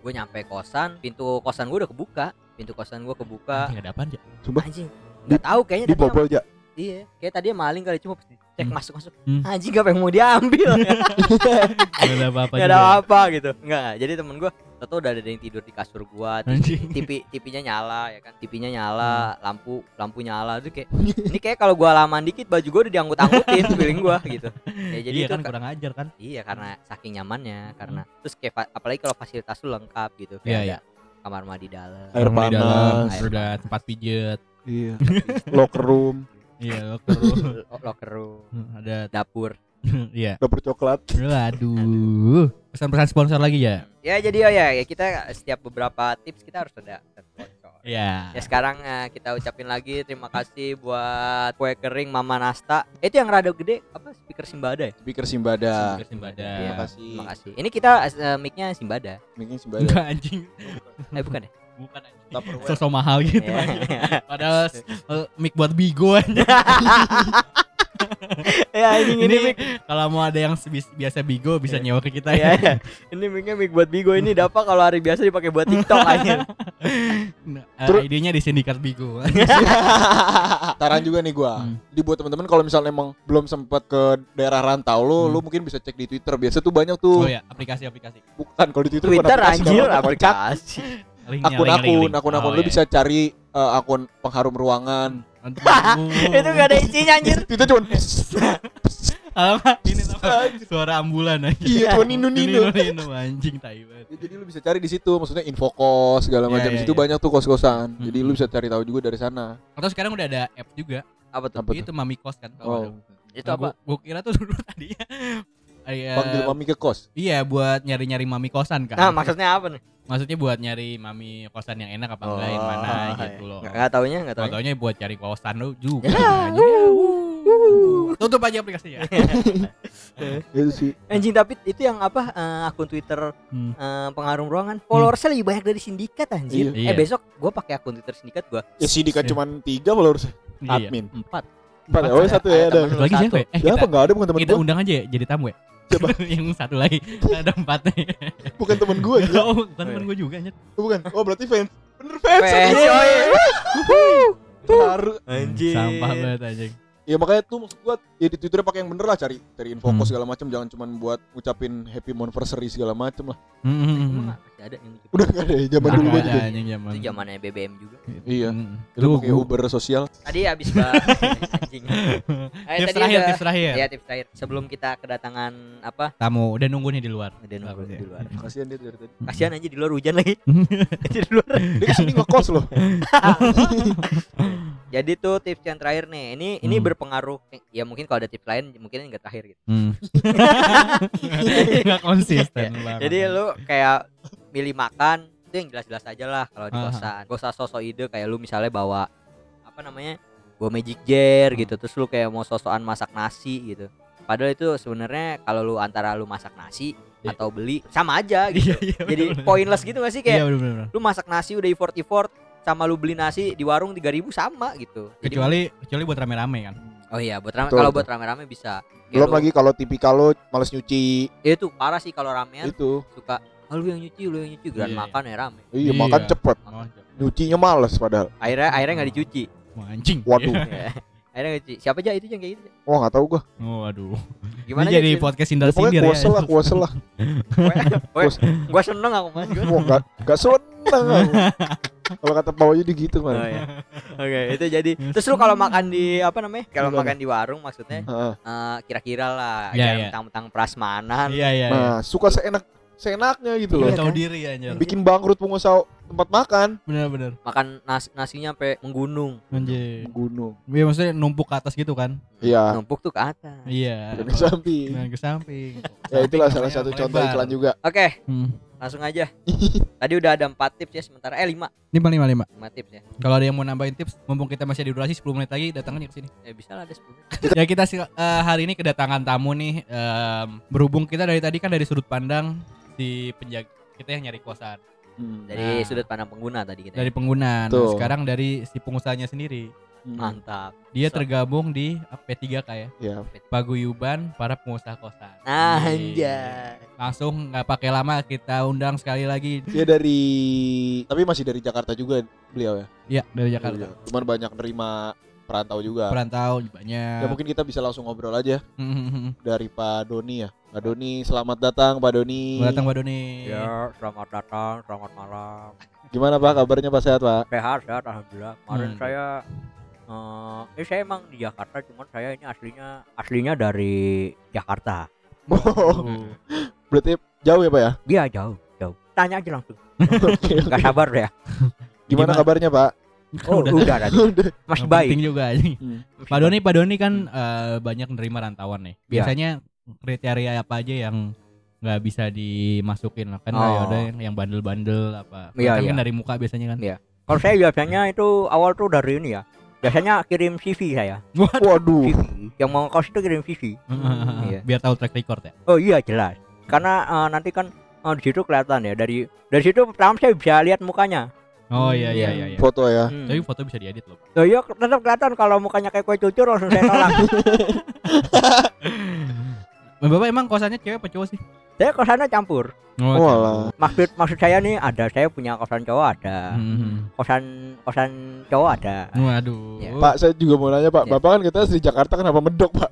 Speaker 2: gue nyampe kosan, pintu kosan gue udah kebuka, pintu kosan gue kebuka.
Speaker 3: Anjing, ada <laughs> apaan ya
Speaker 4: Sumpah.
Speaker 2: Anjing, nggak tahu kayaknya
Speaker 4: Di
Speaker 2: tadi sama-
Speaker 4: bobol aja.
Speaker 2: iya, kayak tadi maling kali cuma pas cek
Speaker 3: Hmm.
Speaker 2: masuk masuk.
Speaker 3: Hmm.
Speaker 2: Anjing gak pengen mau
Speaker 3: <laughs>
Speaker 2: diambil.
Speaker 3: Gak ada
Speaker 2: Gak
Speaker 3: apa-apa juga ya.
Speaker 2: ada apa gitu. Enggak, jadi temen gue Tahu udah ada yang tidur di kasur gua, terus
Speaker 3: <laughs> Anjing. Hmm.
Speaker 2: TV TV-nya nyala ya kan. TV-nya nyala, lampu lampu nyala tuh kayak ini kayak kalau gua lama dikit baju gua udah
Speaker 3: <laughs>
Speaker 2: dianggut-anggutin feeling gua gitu. Ya jadi
Speaker 3: iya
Speaker 2: itu
Speaker 3: kan
Speaker 2: ka-
Speaker 3: kurang ajar kan
Speaker 2: iya karena saking nyamannya karena terus kayak fa- apalagi kalau fasilitas lu lengkap gitu kayak
Speaker 3: Iya,
Speaker 2: ada
Speaker 3: iya.
Speaker 2: kamar mandi dalam.
Speaker 4: Air
Speaker 3: Orang di dalam,
Speaker 4: panas.
Speaker 3: air udah tempat pijet
Speaker 4: Iya. Locker room,
Speaker 3: iya locker room.
Speaker 2: lo- locker room,
Speaker 3: <laughs> ada <laughs>
Speaker 2: dapur.
Speaker 3: iya
Speaker 4: dapur coklat.
Speaker 3: aduh pesan-pesan sponsor lagi ya
Speaker 2: Ya jadi oh ya, ya kita setiap beberapa tips kita harus ada sponsor.
Speaker 3: iya
Speaker 2: Ya sekarang eh, kita ucapin lagi terima kasih buat kue kering Mama Nasta. Itu yang rada gede apa speaker Simbada ya?
Speaker 4: Speaker Simbada.
Speaker 3: Speaker Simbada.
Speaker 4: Terima
Speaker 2: Iya,
Speaker 4: kasih.
Speaker 2: Terima kasih. Ini kita eh, mic-nya Simbada.
Speaker 4: Mungkin Simbada.
Speaker 3: enggak anjing
Speaker 2: Eh <laughs> bukan ya?
Speaker 3: bukan anjing
Speaker 4: Tupperware.
Speaker 3: sosok mahal gitu
Speaker 2: Iya.
Speaker 3: anjing. padahal s- eh, mic buat
Speaker 4: <laughs>
Speaker 3: bigo aja
Speaker 2: <laughs> ya ini ini
Speaker 4: Iya,
Speaker 3: ini
Speaker 2: mic.
Speaker 3: kalau mau ada yang sebis- biasa bigo bisa
Speaker 2: Iya.
Speaker 3: nyewa ke kita
Speaker 2: Ya,
Speaker 3: ya
Speaker 2: ya. <laughs> Ini mic-nya mic buat Bigo ini dapat kalau hari biasa dipakai buat <laughs> TikTok aja.
Speaker 3: Nah,
Speaker 4: Terus-
Speaker 3: eh, idenya di sindikat bigo
Speaker 4: Saran juga nih gua.
Speaker 3: Hmm.
Speaker 4: Jadi buat teman-teman kalau misalnya emang belum sempat ke daerah rantau lu,
Speaker 3: Hmm.
Speaker 4: lu mungkin bisa cek di Twitter. Biasa tuh banyak
Speaker 3: oh
Speaker 4: tuh.
Speaker 3: ya aplikasi-aplikasi
Speaker 4: Bukan kalau di Twitter, bukan
Speaker 2: Twitter
Speaker 4: aplikasi,
Speaker 2: anjir
Speaker 4: kalau
Speaker 2: <laughs>
Speaker 4: kocak.
Speaker 2: aplikasi.
Speaker 3: Linknya, link, link,
Speaker 4: akun-akun,
Speaker 3: link.
Speaker 4: akun-akun
Speaker 3: Oh,
Speaker 4: lu
Speaker 3: iya.
Speaker 4: bisa kan? cari eh, akun pengharum ruangan.
Speaker 3: Untuk bigo.
Speaker 4: <laughs>
Speaker 2: Itu
Speaker 4: kan
Speaker 2: gak ada isinya anjir.
Speaker 4: Itu cuma
Speaker 3: Alamak, <laughs> ini apa? suara ambulan aja
Speaker 4: iya cuma ninu ninu.
Speaker 3: nino anjing tai banget.
Speaker 4: Ya, <laughs> jadi lu bisa cari di situ, maksudnya info kos segala
Speaker 3: Iya,
Speaker 4: macam.
Speaker 3: iya,
Speaker 4: Di situ
Speaker 3: iya.
Speaker 4: banyak tuh kos-kosan.
Speaker 3: Hmm.
Speaker 4: Jadi lu bisa cari tahu juga dari sana.
Speaker 3: Atau sekarang udah ada app juga.
Speaker 2: Apa tuh?
Speaker 4: Apa tuh?
Speaker 3: itu Mami Kos kan kalau ada.
Speaker 4: Oh,
Speaker 2: Itu apa?
Speaker 3: Gue kira tuh dulu <laughs> tadinya. Iya,
Speaker 4: panggil mami Ah, ke kos.
Speaker 3: iya buat nyari-nyari mami kosan kan.
Speaker 2: Nah, maksudnya apa nih?
Speaker 3: Maksudnya buat nyari mami kosan yang enak apa enggak
Speaker 4: Oh,
Speaker 3: yang mana
Speaker 4: iya.
Speaker 3: gitu loh.
Speaker 2: Enggak taunya, enggak taunya.
Speaker 3: Contohnya buat cari kosan lu juga.
Speaker 2: Ya,
Speaker 3: anjing. Tutup aja ya.
Speaker 4: <laughs>
Speaker 3: aplikasinya. Iya
Speaker 4: Itu sih.
Speaker 2: Anjing tapi itu yang apa eh, akun Twitter
Speaker 3: Hmm.
Speaker 2: eh, pengaruh ruangan followersnya lebih banyak dari sindikat anjir. Eh
Speaker 3: Iya.
Speaker 2: besok gua pakai akun Twitter sindikat gua
Speaker 4: Ya sindikat cuma tiga followers.
Speaker 3: Iya.
Speaker 4: Admin.
Speaker 2: empat.
Speaker 4: Empat. Oh satu ya ada.
Speaker 2: temen
Speaker 3: Satu lagi
Speaker 2: Satu.
Speaker 3: siapa? ya? Eh,
Speaker 4: Ya
Speaker 3: kita,
Speaker 4: apa nggak ada bukan teman
Speaker 3: kita
Speaker 4: gua,
Speaker 3: undang aja ya, jadi tamu ya.
Speaker 4: Coba.
Speaker 3: <laughs> yang satu lagi ada empat nih.
Speaker 4: bukan teman
Speaker 3: <laughs>
Speaker 4: gua gila.
Speaker 3: Oh, bukan temen gue juga anjir.
Speaker 4: Oh, bukan. Oh berarti fans. Bener fans.
Speaker 2: Fans,
Speaker 4: Harus.
Speaker 2: Anjir.
Speaker 3: Hmm, Sampah banget anjing.
Speaker 4: ya makanya tuh maksud gua ya di Twitter pakai yang bener lah cari cari info
Speaker 3: Hmm.
Speaker 4: kos segala macam jangan cuman buat ngucapin happy anniversary segala macam lah
Speaker 3: Mm, mm, mm.
Speaker 2: Emang masih ada yang gitu.
Speaker 4: udah nggak ada ya zaman
Speaker 3: Nggak
Speaker 4: dulu
Speaker 3: ada
Speaker 4: aja
Speaker 3: anjing zaman.
Speaker 2: itu zamannya BBM juga.
Speaker 4: iya
Speaker 3: Mm.
Speaker 4: itu
Speaker 3: Lu
Speaker 4: pakai
Speaker 3: gua- <laughs>
Speaker 4: Uber sosial
Speaker 2: Tadi habis bahas anjing. Eh,
Speaker 3: Tips
Speaker 2: tadi
Speaker 3: terakhir,
Speaker 2: udah-
Speaker 3: tips terakhir.
Speaker 2: Ya tips terakhir. Sebelum kita kedatangan apa?
Speaker 3: Tamu udah nunggu nih di luar.
Speaker 2: Udah nunggu
Speaker 3: Bagus,
Speaker 2: di
Speaker 3: ya.
Speaker 2: luar.
Speaker 4: kasihan dia dari tadi
Speaker 2: Kasihan aja di luar hujan
Speaker 3: <laughs>
Speaker 2: lagi. Jadi di luar.
Speaker 4: dia kesini ngekos
Speaker 2: <laughs>
Speaker 4: loh
Speaker 2: Jadi tuh tips yang terakhir nih. Ini ini
Speaker 3: Hmm.
Speaker 2: berpengaruh. Eh, Ya mungkin kalau ada tips lain mungkin enggak terakhir gitu.
Speaker 3: Hmm. Iya. Nggak <laughs> konsisten banget.
Speaker 2: Jadi lu kayak milih makan itu yang jelas-jelas aja lah kalau di
Speaker 3: Aha.
Speaker 2: kosan. Gak usah sosok ide kayak lu misalnya bawa apa namanya? Bawa magic
Speaker 3: Hmm.
Speaker 2: jar gitu. Terus lu kayak mau sosokan masak nasi gitu. Padahal itu sebenarnya kalau lu antara lu masak nasi
Speaker 3: Iya.
Speaker 2: atau beli sama
Speaker 3: <laughs>
Speaker 2: aja gitu.
Speaker 3: Iya, iya,
Speaker 2: Jadi
Speaker 3: bener-bener.
Speaker 2: pointless gitu gak sih
Speaker 3: Iya
Speaker 2: kayak
Speaker 3: benar-benar.
Speaker 2: lu masak nasi udah effort effort sama lu beli nasi di warung 3000 sama gitu. Jadi-
Speaker 3: Kecuali kecuali buat rame-rame kan.
Speaker 2: Oh iya, buat rame
Speaker 4: Betul,
Speaker 2: kalau
Speaker 4: betul.
Speaker 2: buat rame-rame bisa. Kayak
Speaker 4: belum
Speaker 2: lu-
Speaker 4: lagi kalau tipikal lo males nyuci
Speaker 2: Ya itu parah sih kalau ramean
Speaker 4: itu
Speaker 2: suka "Ah, lu yang nyuci, lu yang nyuci,
Speaker 3: Iya,
Speaker 2: grand
Speaker 3: iya.
Speaker 2: makan ya rame.
Speaker 4: iya
Speaker 3: Iya.
Speaker 4: makan cepet
Speaker 2: Oh,
Speaker 4: nyucinya males padahal
Speaker 2: Akhirnya
Speaker 3: Hmm.
Speaker 2: akhirnya nggak dicuci.
Speaker 3: Wah, anjing.
Speaker 4: Waduh.
Speaker 3: <laughs>
Speaker 2: Iya. akhirnya nggak dicuci. Siapa aja itu yang kayak gitu? Jan?
Speaker 4: wah nggak tahu gua
Speaker 3: Waduh.
Speaker 2: Gimana
Speaker 3: Ini jadi
Speaker 2: Jan?
Speaker 3: podcast sindal
Speaker 4: ya, pokoknya
Speaker 3: sindir ya.
Speaker 4: kuasel lah kuasel lah
Speaker 3: <laughs>
Speaker 2: Gua-
Speaker 4: kuas-
Speaker 2: Gua seneng aku mas. Gua-
Speaker 4: wah nggak nggak seneng
Speaker 2: <laughs>
Speaker 4: aku. kalau kata Pak Wayu gitu
Speaker 2: Oh,
Speaker 4: kan
Speaker 2: iya. Oke, itu jadi. Terus lu kalau makan di apa namanya? Kalau
Speaker 4: Gimana?
Speaker 2: makan di warung maksudnya
Speaker 4: Heeh.
Speaker 2: eh, kira-kira lah,
Speaker 3: Iya,
Speaker 2: jangan
Speaker 3: iya.
Speaker 2: mentang-mentang prasmanan.
Speaker 3: <laughs> Iya iya. iya.
Speaker 4: nah suka seenak seenaknya gitu
Speaker 3: Lu
Speaker 4: loh
Speaker 3: tahu diri anjir.
Speaker 4: bikin bangkrut pengusaha tempat makan
Speaker 3: Benar-benar.
Speaker 2: Makan nas- nasinya sampai menggunung.
Speaker 3: Anjir.
Speaker 4: gunung
Speaker 3: Iya maksudnya numpuk ke atas gitu kan.
Speaker 4: Iya.
Speaker 2: Numpuk tuh ke atas.
Speaker 3: Iya.
Speaker 4: dan ke samping
Speaker 3: Nah, ke samping.
Speaker 4: ya itulah
Speaker 3: Samping
Speaker 4: salah
Speaker 3: namanya
Speaker 4: satu
Speaker 3: melebar.
Speaker 4: contoh iklan juga
Speaker 2: Oke,
Speaker 3: Hmm.
Speaker 2: langsung
Speaker 3: <laughs>
Speaker 2: aja. Tadi udah ada 4 tips ya sementara. Eh 5,
Speaker 3: Lima lima lima.
Speaker 2: 5 tips ya.
Speaker 3: Kalau ada yang mau nambahin tips, mumpung kita masih ada durasi 10 menit lagi, datang aja ke sini.
Speaker 2: Eh bisa lah ada 10.
Speaker 3: ya kita sil- eh, hari ini kedatangan tamu nih em, berhubung kita dari tadi kan dari sudut pandang si penjaga kita yang nyari kosan
Speaker 2: Dari
Speaker 3: Nah.
Speaker 2: sudut pandang pengguna tadi kita. ya.
Speaker 3: dari pengguna. Nah,
Speaker 4: Tuh.
Speaker 3: sekarang dari si pengusahanya sendiri.
Speaker 4: Hmm.
Speaker 2: Mantap.
Speaker 3: Dia
Speaker 2: So-
Speaker 3: tergabung di P3K ya,
Speaker 4: ya
Speaker 3: paguyuban para pengusaha kosan.
Speaker 2: Nah,
Speaker 3: Yeay.
Speaker 2: anjay.
Speaker 3: Langsung nggak pakai lama kita undang sekali lagi.
Speaker 4: dia dari tapi masih dari Jakarta juga beliau
Speaker 3: Ya,
Speaker 4: ya
Speaker 3: dari Jakarta.
Speaker 4: cuman banyak nerima perantau juga
Speaker 3: Perantau
Speaker 4: ya
Speaker 3: banyak. Hmm,
Speaker 4: mungkin kita bisa langsung ngobrol aja dari Pak Doni ya Pak Doni selamat datang Pak Doni
Speaker 3: Selamat datang Pak Doni.
Speaker 2: Ya, selamat datang, selamat malam.
Speaker 4: gimana Pak kabarnya Pak sehat Pak <laughs>
Speaker 2: Sehat, sehat alhamdulillah. Kemarin
Speaker 3: Hmm.
Speaker 2: saya eh ini saya emang di Jakarta, cuman saya ini aslinya aslinya dari Jakarta.
Speaker 3: Oh,
Speaker 4: berarti jauh ya Pak ya
Speaker 2: Dia Iya, jauh, jauh. Tanya aja langsung.
Speaker 4: Oke.
Speaker 2: Gak sabar ya.
Speaker 3: Gimana?
Speaker 4: gimana kabarnya Pak
Speaker 2: <laughs> Oh, udah, tadi. Mas
Speaker 3: Yang
Speaker 2: baik.
Speaker 3: penting juga anjing.
Speaker 2: Mas
Speaker 3: Pak
Speaker 2: baik. Hmm.
Speaker 3: Doni, Pak Doni kan eh, banyak nerima rantauan nih.
Speaker 2: Iya.
Speaker 3: Biasanya kriteria apa aja yang nggak bisa dimasukin lah kan
Speaker 2: Oh.
Speaker 3: ada yang, yang bandel-bandel apa
Speaker 2: Iya,
Speaker 3: kan
Speaker 2: iya.
Speaker 3: dari muka biasanya kan <laughs>
Speaker 2: Iya. Kalau saya biasanya itu awal tuh dari ini ya. Biasanya kirim CV saya.
Speaker 3: Waduh.
Speaker 4: waduh
Speaker 2: CV. Yang mau kos itu kirim <laughs> CV. Iya.
Speaker 3: biar tahu track record ya
Speaker 2: Oh iya jelas. Karena eh, nanti kan eh, di situ kelihatan ya dari dari situ pertama saya bisa lihat mukanya.
Speaker 3: oh iya iya iya, iya.
Speaker 4: foto ya
Speaker 2: Hmm.
Speaker 3: tapi foto bisa diedit loh Pak.
Speaker 2: Loh, iya tetap kelihatan kalau mukanya kayak kue cucur langsung saya
Speaker 3: <laughs>
Speaker 2: tolak.
Speaker 3: bapak emang kosannya cewek apa cowok sih
Speaker 2: saya kosannya campur.
Speaker 3: oh,
Speaker 4: Walah.
Speaker 2: Maksud maksud saya nih ada saya punya kosan cowok ada.
Speaker 3: cowok. Mhm.
Speaker 2: Kosan kosan cowok ada.
Speaker 3: waduh
Speaker 2: Iya.
Speaker 4: Pak saya juga mau nanya Pak
Speaker 2: Ya.
Speaker 4: Bapak kan kita di Jakarta kenapa medok Pak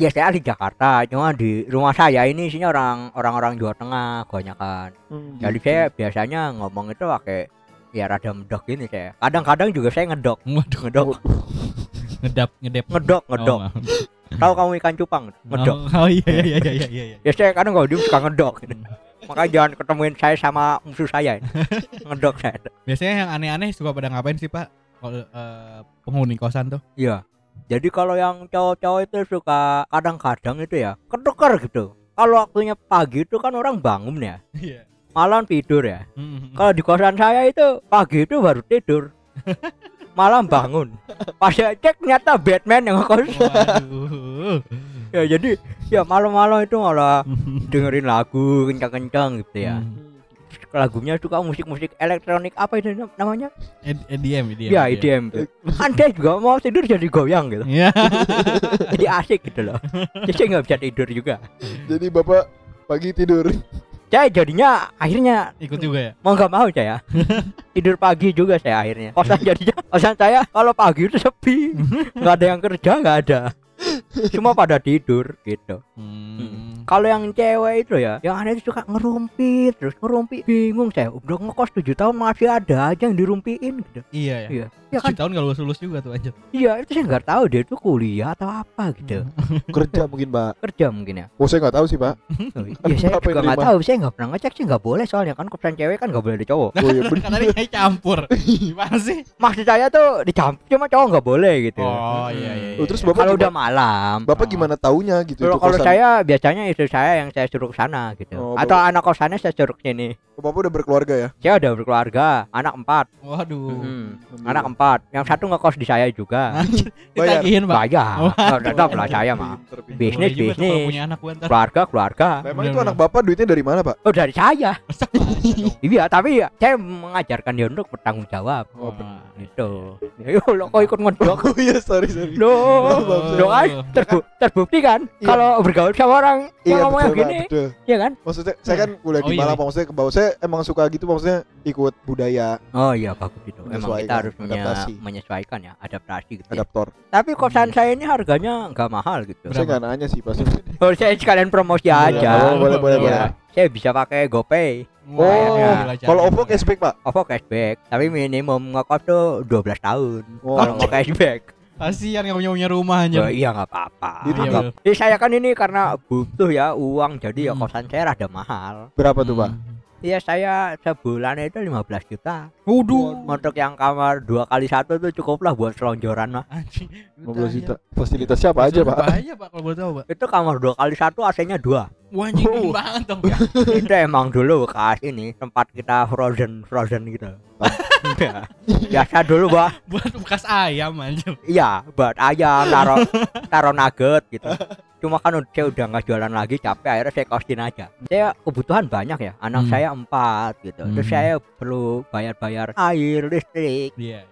Speaker 2: Ya saya di Jakarta, cuma di rumah saya ini isinya orang orang-orang Jawa Tengah kebanyakan.
Speaker 3: Hmm.
Speaker 2: Jadi saya biasanya ngomong itu pakai ya rada medok ini saya. Kadang-kadang juga saya ngedok,
Speaker 3: waduh
Speaker 2: ngedok,
Speaker 3: ngedap ngedep
Speaker 2: ngedok, ngedok.
Speaker 3: Oh, maaf.
Speaker 2: Tahu kamu ikan cupang? Ngedok.
Speaker 3: oh, iya iya iya iya iya, iya.
Speaker 2: Ya saya kadang kalau diem suka ngedok. gitu.
Speaker 3: Hmm.
Speaker 2: Makanya jangan ketemuin saya sama musuh saya.
Speaker 3: <laughs>
Speaker 2: ini. ngedok saya.
Speaker 3: biasanya yang aneh-aneh suka pada ngapain sih pak kalau eh, penghuni kosan tuh
Speaker 2: Iya. Jadi kalau yang cowok-cowok itu suka kadang-kadang itu ya ketuker gitu. Kalau waktunya pagi itu kan orang bangun ya,
Speaker 3: iya
Speaker 2: malam tidur ya.
Speaker 3: Hmm.
Speaker 2: Kalau di kosan saya itu pagi itu baru tidur, malam bangun. Pas saya cek ternyata Batman yang ngekos.
Speaker 3: Waduh.
Speaker 2: ya jadi ya malam-malam itu malah dengerin lagu kencang-kencang gitu
Speaker 3: Hmm.
Speaker 2: ya. Terus Lagunya suka musik-musik elektronik apa itu nam- namanya?
Speaker 3: Ed- Iya. EDM, EDM.
Speaker 2: Ya IDM. Anda juga mau tidur jadi goyang gitu.
Speaker 3: Iya. <laughs>
Speaker 2: Jadi asik gitu loh. Jadi saya nggak bisa tidur juga.
Speaker 4: Jadi Bapak pagi tidur
Speaker 2: Saya jadinya akhirnya
Speaker 3: ikut juga ya
Speaker 2: mau nggak mau saya tidur pagi juga saya akhirnya kosan jadinya kosan saya kalau pagi itu sepi nggak ada yang kerja nggak ada cuma pada tidur gitu
Speaker 3: hmm.
Speaker 2: kalau yang cewek itu ya yang aneh itu suka ngerumpi terus ngerumpi bingung saya udah ngekos 7 tahun masih ada aja yang dirumpiin gitu
Speaker 3: iya ya
Speaker 2: iya
Speaker 3: ya
Speaker 2: iya kan
Speaker 3: tahun gak lulus lulus juga tuh anjir
Speaker 2: iya itu saya nggak tahu dia itu kuliah atau apa gitu
Speaker 4: kerja mungkin pak
Speaker 2: <laughs> kerja mungkin ya
Speaker 4: oh saya nggak tahu sih pak
Speaker 2: iya saya
Speaker 4: Apa yang
Speaker 2: juga nggak
Speaker 4: terima?
Speaker 2: tahu saya nggak pernah ngecek sih nggak boleh soalnya kan kosan cewek kan nggak boleh ada cowok
Speaker 4: oh
Speaker 3: <laughs>
Speaker 4: iya bener
Speaker 3: katanya kayak campur gimana sih
Speaker 2: maksud saya tuh dicampur cuma cowok nggak boleh gitu
Speaker 3: oh iya iya,
Speaker 4: Oh,
Speaker 3: iya.
Speaker 4: terus bapak
Speaker 2: kalau
Speaker 4: gimana-
Speaker 2: udah malam
Speaker 4: bapak gimana taunya gitu
Speaker 2: kalau
Speaker 4: itu
Speaker 2: kalau
Speaker 4: kosan?
Speaker 2: saya biasanya istri saya yang saya suruh ke sana gitu
Speaker 4: Oh,
Speaker 2: atau anak kosannya saya suruh ke sini
Speaker 4: Oh, bapak udah berkeluarga ya
Speaker 2: saya udah berkeluarga anak empat
Speaker 3: waduh
Speaker 2: Hmm,
Speaker 4: Iya.
Speaker 2: anak empat yang satu ngekos di saya juga
Speaker 4: bayar.
Speaker 3: ditagihin pak
Speaker 2: bayar
Speaker 3: Ah, Oh,
Speaker 2: oh, tetap lah saya mah
Speaker 4: Pinter, pinter.
Speaker 2: Bi- Bisnis,
Speaker 3: Boleh juga tuh kalau
Speaker 2: bisnis. Oh,
Speaker 3: punya anak gua ntar
Speaker 2: keluarga keluarga
Speaker 4: Lah, emang itu
Speaker 3: Bener-bener.
Speaker 4: anak bapak duitnya dari mana pak
Speaker 2: oh dari
Speaker 3: <laughs>
Speaker 2: saya
Speaker 3: Masa masa dong?
Speaker 2: iya tapi saya mengajarkan dia untuk bertanggung jawab
Speaker 4: Oh,
Speaker 3: Wah.
Speaker 2: gitu yo lo kok ikut ngedok
Speaker 4: oh <laughs> iya sorry sorry
Speaker 2: lo
Speaker 3: Oh,
Speaker 4: Maaf,
Speaker 3: iya.
Speaker 4: saya-
Speaker 2: lo kan terbu- terbukti kan
Speaker 4: Iya.
Speaker 2: kalau bergaul sama orang
Speaker 4: Iya
Speaker 2: yang ngomongnya
Speaker 4: betul, Pak,
Speaker 2: gini
Speaker 4: betul.
Speaker 2: ya kan
Speaker 4: Maksudnya saya kan kuliah di
Speaker 3: Oh, iya,
Speaker 4: Malang,
Speaker 3: iya.
Speaker 4: Pak. maksudnya ke bawah saya emang suka gitu maksudnya ikut budaya
Speaker 2: Oh iya bagus itu. Emang
Speaker 4: Menyesuaikan,
Speaker 2: kita harus punya
Speaker 4: adaptasi.
Speaker 2: menyesuaikan ya, adaptasi gitu. ya.
Speaker 4: adaptor.
Speaker 2: Tapi kosan saya ini harganya nggak mahal gitu.
Speaker 4: Saya
Speaker 3: Berapa?
Speaker 4: nggak nanya sih pas.
Speaker 2: Oh, saya sekalian promosi aja.
Speaker 4: Boleh, boleh, boleh,
Speaker 2: Iya.
Speaker 4: boleh.
Speaker 2: Saya bisa pakai GoPay,
Speaker 3: Wah,
Speaker 4: Oh,
Speaker 3: ya,
Speaker 2: iya.
Speaker 3: gila, canggih.
Speaker 4: kalau OVO cashback, Pak.
Speaker 2: OVO cashback, tapi minimum ngekos tuh 12 tahun.
Speaker 4: Oh.
Speaker 2: Kalau mau cashback,
Speaker 3: kasihan yang punya punya rumah anjir
Speaker 2: oh, iya nggak apa-apa.
Speaker 4: Itu
Speaker 2: Iya,
Speaker 3: nggak-
Speaker 2: Jadi saya kan ini karena butuh ya uang, jadi ya
Speaker 3: Hmm.
Speaker 2: kosan saya rada mahal.
Speaker 4: Berapa tuh, Pak?
Speaker 2: Iya saya sebulan itu 15 juta.
Speaker 3: Waduh.
Speaker 2: Untuk yang kamar dua kali satu tuh cukuplah buat selonjoran mah.
Speaker 3: Anjing.
Speaker 4: 15 juta. Fasilitas siapa aja, Pak?
Speaker 3: Apa aja, Pak, kalau boleh tahu, Pak?
Speaker 2: Itu kamar dua kali satu AC-nya
Speaker 3: <laughs>
Speaker 2: dua.
Speaker 3: Wah, anjing
Speaker 4: Oh.
Speaker 3: gede banget dong.
Speaker 4: <laughs>
Speaker 2: itu emang dulu bekas ini tempat kita frozen frozen gitu
Speaker 3: <laughs>
Speaker 2: Iya. biasa dulu bah
Speaker 3: Buat bekas ayam anjir.
Speaker 2: iya buat ayam taro taro nugget gitu cuma kan ud- saya udah nggak jualan lagi capek akhirnya saya kostin aja saya kebutuhan banyak ya anak
Speaker 3: Hmm.
Speaker 2: saya empat gitu terus
Speaker 3: Hmm.
Speaker 2: saya perlu bayar-bayar air listrik
Speaker 3: Iya.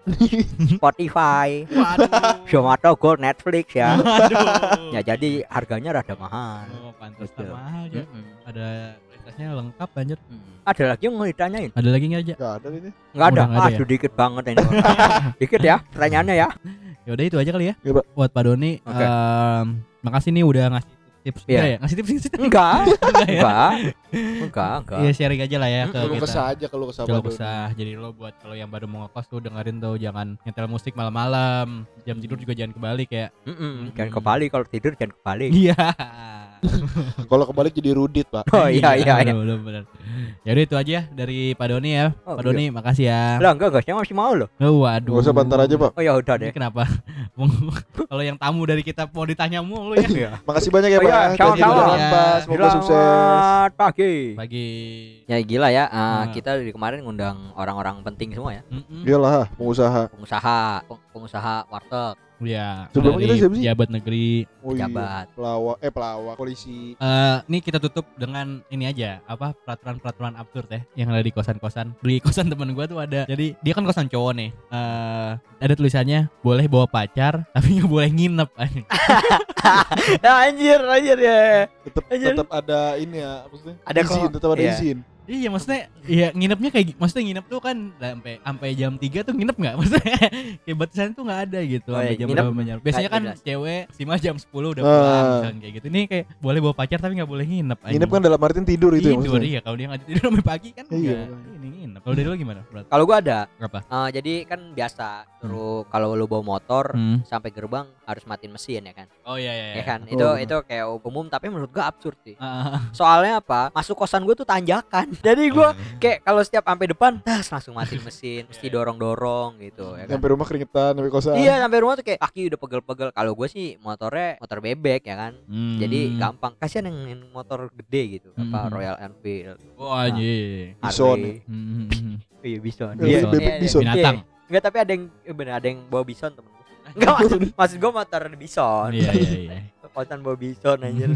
Speaker 2: Spotify
Speaker 3: Waduh.
Speaker 2: Zomato Gold Netflix ya
Speaker 3: Aduh.
Speaker 2: ya jadi harganya rada mahal
Speaker 3: Oh, pantas
Speaker 2: Gitu.
Speaker 3: mahal ya.
Speaker 4: Hmm?
Speaker 2: Mm-mm.
Speaker 3: Ada kualitasnya lengkap anjir.
Speaker 2: ada lagi yang mau ditanyain
Speaker 3: Ada lagi nggak aja?
Speaker 4: Enggak ada ini.
Speaker 2: Nggak ada.
Speaker 3: Udah nggak ada
Speaker 2: Aduh dikit banget ini. dikit ya pertanyaannya ya.
Speaker 3: Ya udah itu aja kali ya.
Speaker 4: Iya, Pak.
Speaker 3: Buat Pak Doni,
Speaker 2: Oke.
Speaker 3: em, makasih nih udah ngasih tips.
Speaker 2: Iya.
Speaker 3: Iya, ya? ngasih tips sih. <laughs>
Speaker 2: Enggak.
Speaker 3: Enggak ya?
Speaker 2: Enggak. Enggak, enggak.
Speaker 3: Iya, sharing aja lah ya ke
Speaker 4: Kalau
Speaker 3: kita.
Speaker 4: kesah aja kalau kesah
Speaker 3: Kalau kesah, jadi lo buat kalau yang baru mau ngekos tuh dengerin tuh jangan nyetel musik malam-malam. Jam tidur juga jangan kebalik ya.
Speaker 2: Mm-mm. Jangan ke Bali kalau tidur jangan ke Bali.
Speaker 3: Iya.
Speaker 4: Kalau kebalik jadi rudit, Pak.
Speaker 2: Oh iya iya iya.
Speaker 3: Bener, bener. Ya udah itu aja ya dari Pak Doni ya.
Speaker 2: Oh,
Speaker 3: Pak Doni makasih ya.
Speaker 2: Lah enggak enggak saya masih mau loh.
Speaker 3: Oh, waduh.
Speaker 4: Enggak usah bantar aja, Pak.
Speaker 2: Oh ya udah
Speaker 3: Ini
Speaker 2: deh.
Speaker 3: kenapa? <laughs> Mau- Kalau yang tamu dari kita mau ditanya mulu ya.
Speaker 2: Iya.
Speaker 4: Makasih banyak ya,
Speaker 2: Oh, iya,
Speaker 4: Pak.
Speaker 2: sama-sama.
Speaker 4: Jadi jalan, Pak. Semoga sukses.
Speaker 2: Selamat pagi.
Speaker 3: Pagi.
Speaker 2: Ya gila ya. eh,
Speaker 3: Nah.
Speaker 2: Kita dari kemarin ngundang orang-orang penting semua ya.
Speaker 3: Mm-mm.
Speaker 4: Iyalah, pengusaha.
Speaker 2: Pengusaha, peng- pengusaha
Speaker 4: Oh,
Speaker 2: warteg,
Speaker 3: Iya.
Speaker 4: Sebelum
Speaker 3: dari
Speaker 4: kita siapa sih?
Speaker 3: Pejabat negeri.
Speaker 4: Oh, iya.
Speaker 2: pejabat.
Speaker 4: Pelawak, eh pelawak, polisi.
Speaker 3: Eh, ini kita tutup dengan ini aja apa peraturan-peraturan absurd ya yang ada di kosan-kosan di kosan teman gua tuh ada jadi dia kan kosan cowok nih Eh ada tulisannya boleh bawa pacar tapi nggak boleh nginep
Speaker 2: <laughs>
Speaker 3: <laughs>
Speaker 2: anjir, anjir ya.
Speaker 4: Tetap
Speaker 2: Aja.
Speaker 4: tetap ada ini ya, maksudnya.
Speaker 2: Ada
Speaker 4: izin,
Speaker 2: kok.
Speaker 4: tetap ada
Speaker 2: Iya.
Speaker 4: izin.
Speaker 3: Iya maksudnya ya nginepnya kayak gi- maksudnya nginep tuh kan sampai sampai jam 3 tuh nginep nggak <laughs> maksudnya kayak batasan tuh nggak ada gitu
Speaker 2: Oh,
Speaker 3: sampai
Speaker 2: iya,
Speaker 3: jam
Speaker 2: nginep
Speaker 3: berapa banyak. Biasanya
Speaker 2: nggak
Speaker 3: kan
Speaker 2: jelas.
Speaker 3: cewek sima jam 10 udah
Speaker 4: Ah.
Speaker 3: pulang misalkan kayak gitu. Ini kayak boleh bawa pacar tapi nggak boleh nginep.
Speaker 4: Nginep kan dalam artian tidur itu ya,
Speaker 3: tidur
Speaker 4: maksudnya.
Speaker 3: iya kalau dia nggak tidur sampai pagi kan
Speaker 4: Iya,
Speaker 3: nggak
Speaker 4: makanya.
Speaker 3: ini nginep. Kalau dari lo gimana? Berat
Speaker 2: Kalau gua ada.
Speaker 3: berapa?
Speaker 2: eh, jadi kan biasa suruh kalau lu bawa motor sampai gerbang harus matiin mesin ya kan.
Speaker 3: Hmm. Oh iya iya.
Speaker 2: Ya
Speaker 3: iya.
Speaker 2: kan?
Speaker 4: Oh,
Speaker 2: Itu
Speaker 4: benar.
Speaker 2: itu kayak umum tapi menurut gua absurd sih.
Speaker 3: Ah,
Speaker 2: Soalnya apa? Masuk kosan gue tuh tanjakan. <laughs> Jadi gue
Speaker 3: Iya,
Speaker 2: kayak kalau setiap sampai depan, tas langsung
Speaker 3: <laughs>
Speaker 2: matiin mesin, mesti dorong-dorong
Speaker 3: Iya,
Speaker 2: gitu ya kan.
Speaker 4: Sampai rumah keringetan, sampai kosan.
Speaker 2: Iya sampai rumah tuh kayak kaki udah pegel-pegel. Kalau gue sih motornya motor bebek ya kan.
Speaker 3: hmm.
Speaker 2: Jadi gampang. Kasihan yang yang motor gede gitu, apa
Speaker 3: Hmm.
Speaker 2: Royal Enfield,
Speaker 3: Oh anjir.
Speaker 4: Bison
Speaker 2: Harley.
Speaker 3: Hmm.
Speaker 2: Iya bison.
Speaker 4: Iya,
Speaker 2: Iya,
Speaker 4: bebek
Speaker 2: iya, iya.
Speaker 4: bison.
Speaker 3: Binatang.
Speaker 2: Enggak tapi ada yang eh, bener ada yang bawa bison temen <laughs> gue. Enggak maksud, maksud gue motor bison.
Speaker 3: Iya iya iya.
Speaker 2: Kosan bawa bison
Speaker 3: <laughs>
Speaker 2: anjir.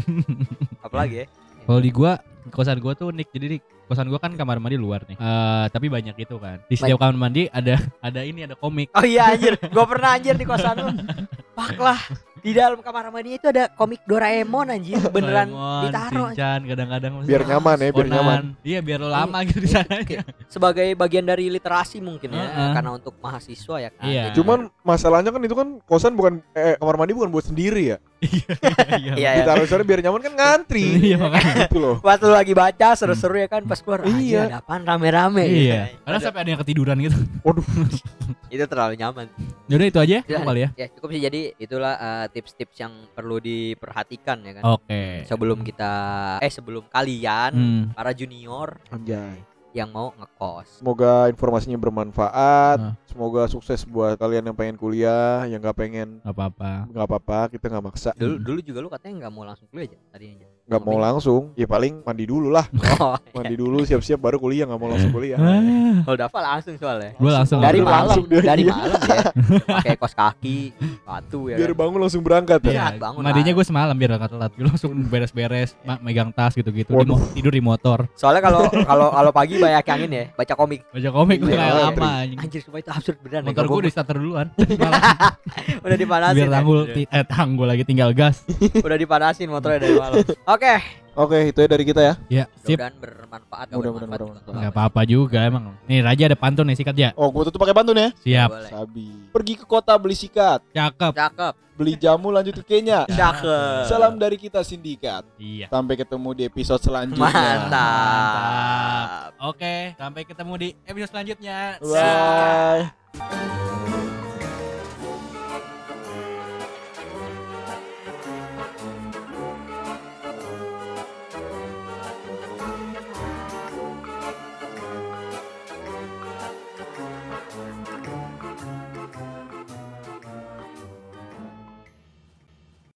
Speaker 2: Apalagi ya?
Speaker 3: Kalau di gua kosan gua tuh unik. Jadi di kosan gua kan kamar mandi luar nih. Eh tapi banyak gitu kan. Di setiap kamar mandi ada ada ini ada komik.
Speaker 2: Oh iya anjir, gua pernah anjir di kosan lu. Pak lah, di dalam kamar mandi itu ada komik Doraemon anjir beneran
Speaker 3: Doraemon,
Speaker 2: ditaruh anjir.
Speaker 3: Shinchan, kadang-kadang
Speaker 4: biar nyaman ya, biar
Speaker 3: Conan.
Speaker 4: nyaman.
Speaker 3: Iya, biar lo lama gitu di sana.
Speaker 2: sebagai bagian dari literasi mungkin ya
Speaker 3: Heeh.
Speaker 2: karena untuk mahasiswa ya kan.
Speaker 3: Iya.
Speaker 2: Jadi-
Speaker 4: Cuman masalahnya kan itu kan kosan bukan eh kamar mandi bukan buat sendiri ya.
Speaker 2: <laughs> Iya, iya.
Speaker 4: Ditaruh sana biar nyaman kan ngantri.
Speaker 3: Iya, makanya.
Speaker 4: gitu loh.
Speaker 2: Pas lu lagi baca seru-seru ya kan pas keluar
Speaker 4: Iya.
Speaker 2: <laughs> iya. ada apaan rame-rame gitu.
Speaker 3: Iya. Karena sampai ada yang ketiduran gitu.
Speaker 2: itu terlalu nyaman.
Speaker 3: Yaudah itu aja ya,
Speaker 2: Udah.
Speaker 3: cukup kali ya.
Speaker 2: Ya cukup sih jadi itulah eh, tips-tips yang perlu diperhatikan ya kan.
Speaker 3: Oke.
Speaker 2: Sebelum kita eh sebelum kalian
Speaker 3: Hmm.
Speaker 2: para junior
Speaker 4: Anjay.
Speaker 2: yang mau ngekos.
Speaker 4: Semoga informasinya bermanfaat.
Speaker 3: Nah.
Speaker 4: Semoga sukses buat kalian yang pengen kuliah, yang nggak pengen
Speaker 3: Gak apa-apa.
Speaker 4: nggak apa-apa, kita nggak maksa,
Speaker 2: Dulu
Speaker 3: Hmm.
Speaker 2: dulu juga lu katanya nggak mau langsung kuliah aja tadinya.
Speaker 3: <laughs>
Speaker 4: nggak mau langsung. Ya paling mandi dulu lah,
Speaker 2: Oh,
Speaker 4: mandi dulu siap-siap baru kuliah, nggak mau langsung kuliah.
Speaker 3: Ah,
Speaker 2: kalau Dafa langsung soalnya.
Speaker 3: Gue langsung.
Speaker 2: Dari
Speaker 4: Langsung
Speaker 2: malam,
Speaker 4: dia,
Speaker 2: dari
Speaker 4: iya.
Speaker 2: malam ya. Pakai kos kaki, batu ya.
Speaker 4: Biar
Speaker 2: Kan?
Speaker 4: bangun langsung berangkat ya.
Speaker 2: Iya,
Speaker 3: Iya,
Speaker 2: bangun
Speaker 3: madinya
Speaker 2: lah. Iya.
Speaker 3: gue semalam biar gak telat. Gue langsung beres-beres, ma- megang tas gitu-gitu. Di
Speaker 4: Waduh.
Speaker 3: mo- tidur di motor.
Speaker 2: Soalnya kalau kalau kalau pagi banyak yang ini ya, baca komik.
Speaker 3: Baca komik gue
Speaker 2: Iya,
Speaker 3: kayak
Speaker 4: iya.
Speaker 3: lama. anjing.
Speaker 2: Anjir, sumpah itu absurd beneran.
Speaker 3: Motor
Speaker 2: ya,
Speaker 3: gue
Speaker 2: gua-
Speaker 3: di starter
Speaker 2: <laughs>
Speaker 3: duluan. Malah
Speaker 2: udah dipanasin.
Speaker 3: biar
Speaker 2: ya.
Speaker 3: tanggul, ti- eh tanggul lagi tinggal gas.
Speaker 2: udah dipanasin motornya dari malam. Oke,
Speaker 4: Oke, itu ya dari kita ya.
Speaker 3: Ya, sip.
Speaker 2: mudah-mudahan bermanfaat.
Speaker 4: Mudah-mudahan
Speaker 2: bermanfaat.
Speaker 4: bermanfaat.
Speaker 3: Gak apa-apa juga emang. Nih Raja ada pantun nih sikat ya.
Speaker 4: Oh, gua tutup pakai pantun ya.
Speaker 3: Siap.
Speaker 2: Boleh.
Speaker 4: Sabi. Pergi ke kota beli sikat,
Speaker 3: Cakep.
Speaker 2: Cakep,
Speaker 4: beli jamu lanjut ke Kenya.
Speaker 2: cakep.
Speaker 4: Salam dari kita sindikat.
Speaker 3: Iya.
Speaker 4: Sampai ketemu di episode selanjutnya.
Speaker 2: Mantap.
Speaker 3: Mantap. Oke, sampai ketemu di episode selanjutnya.
Speaker 4: Bye.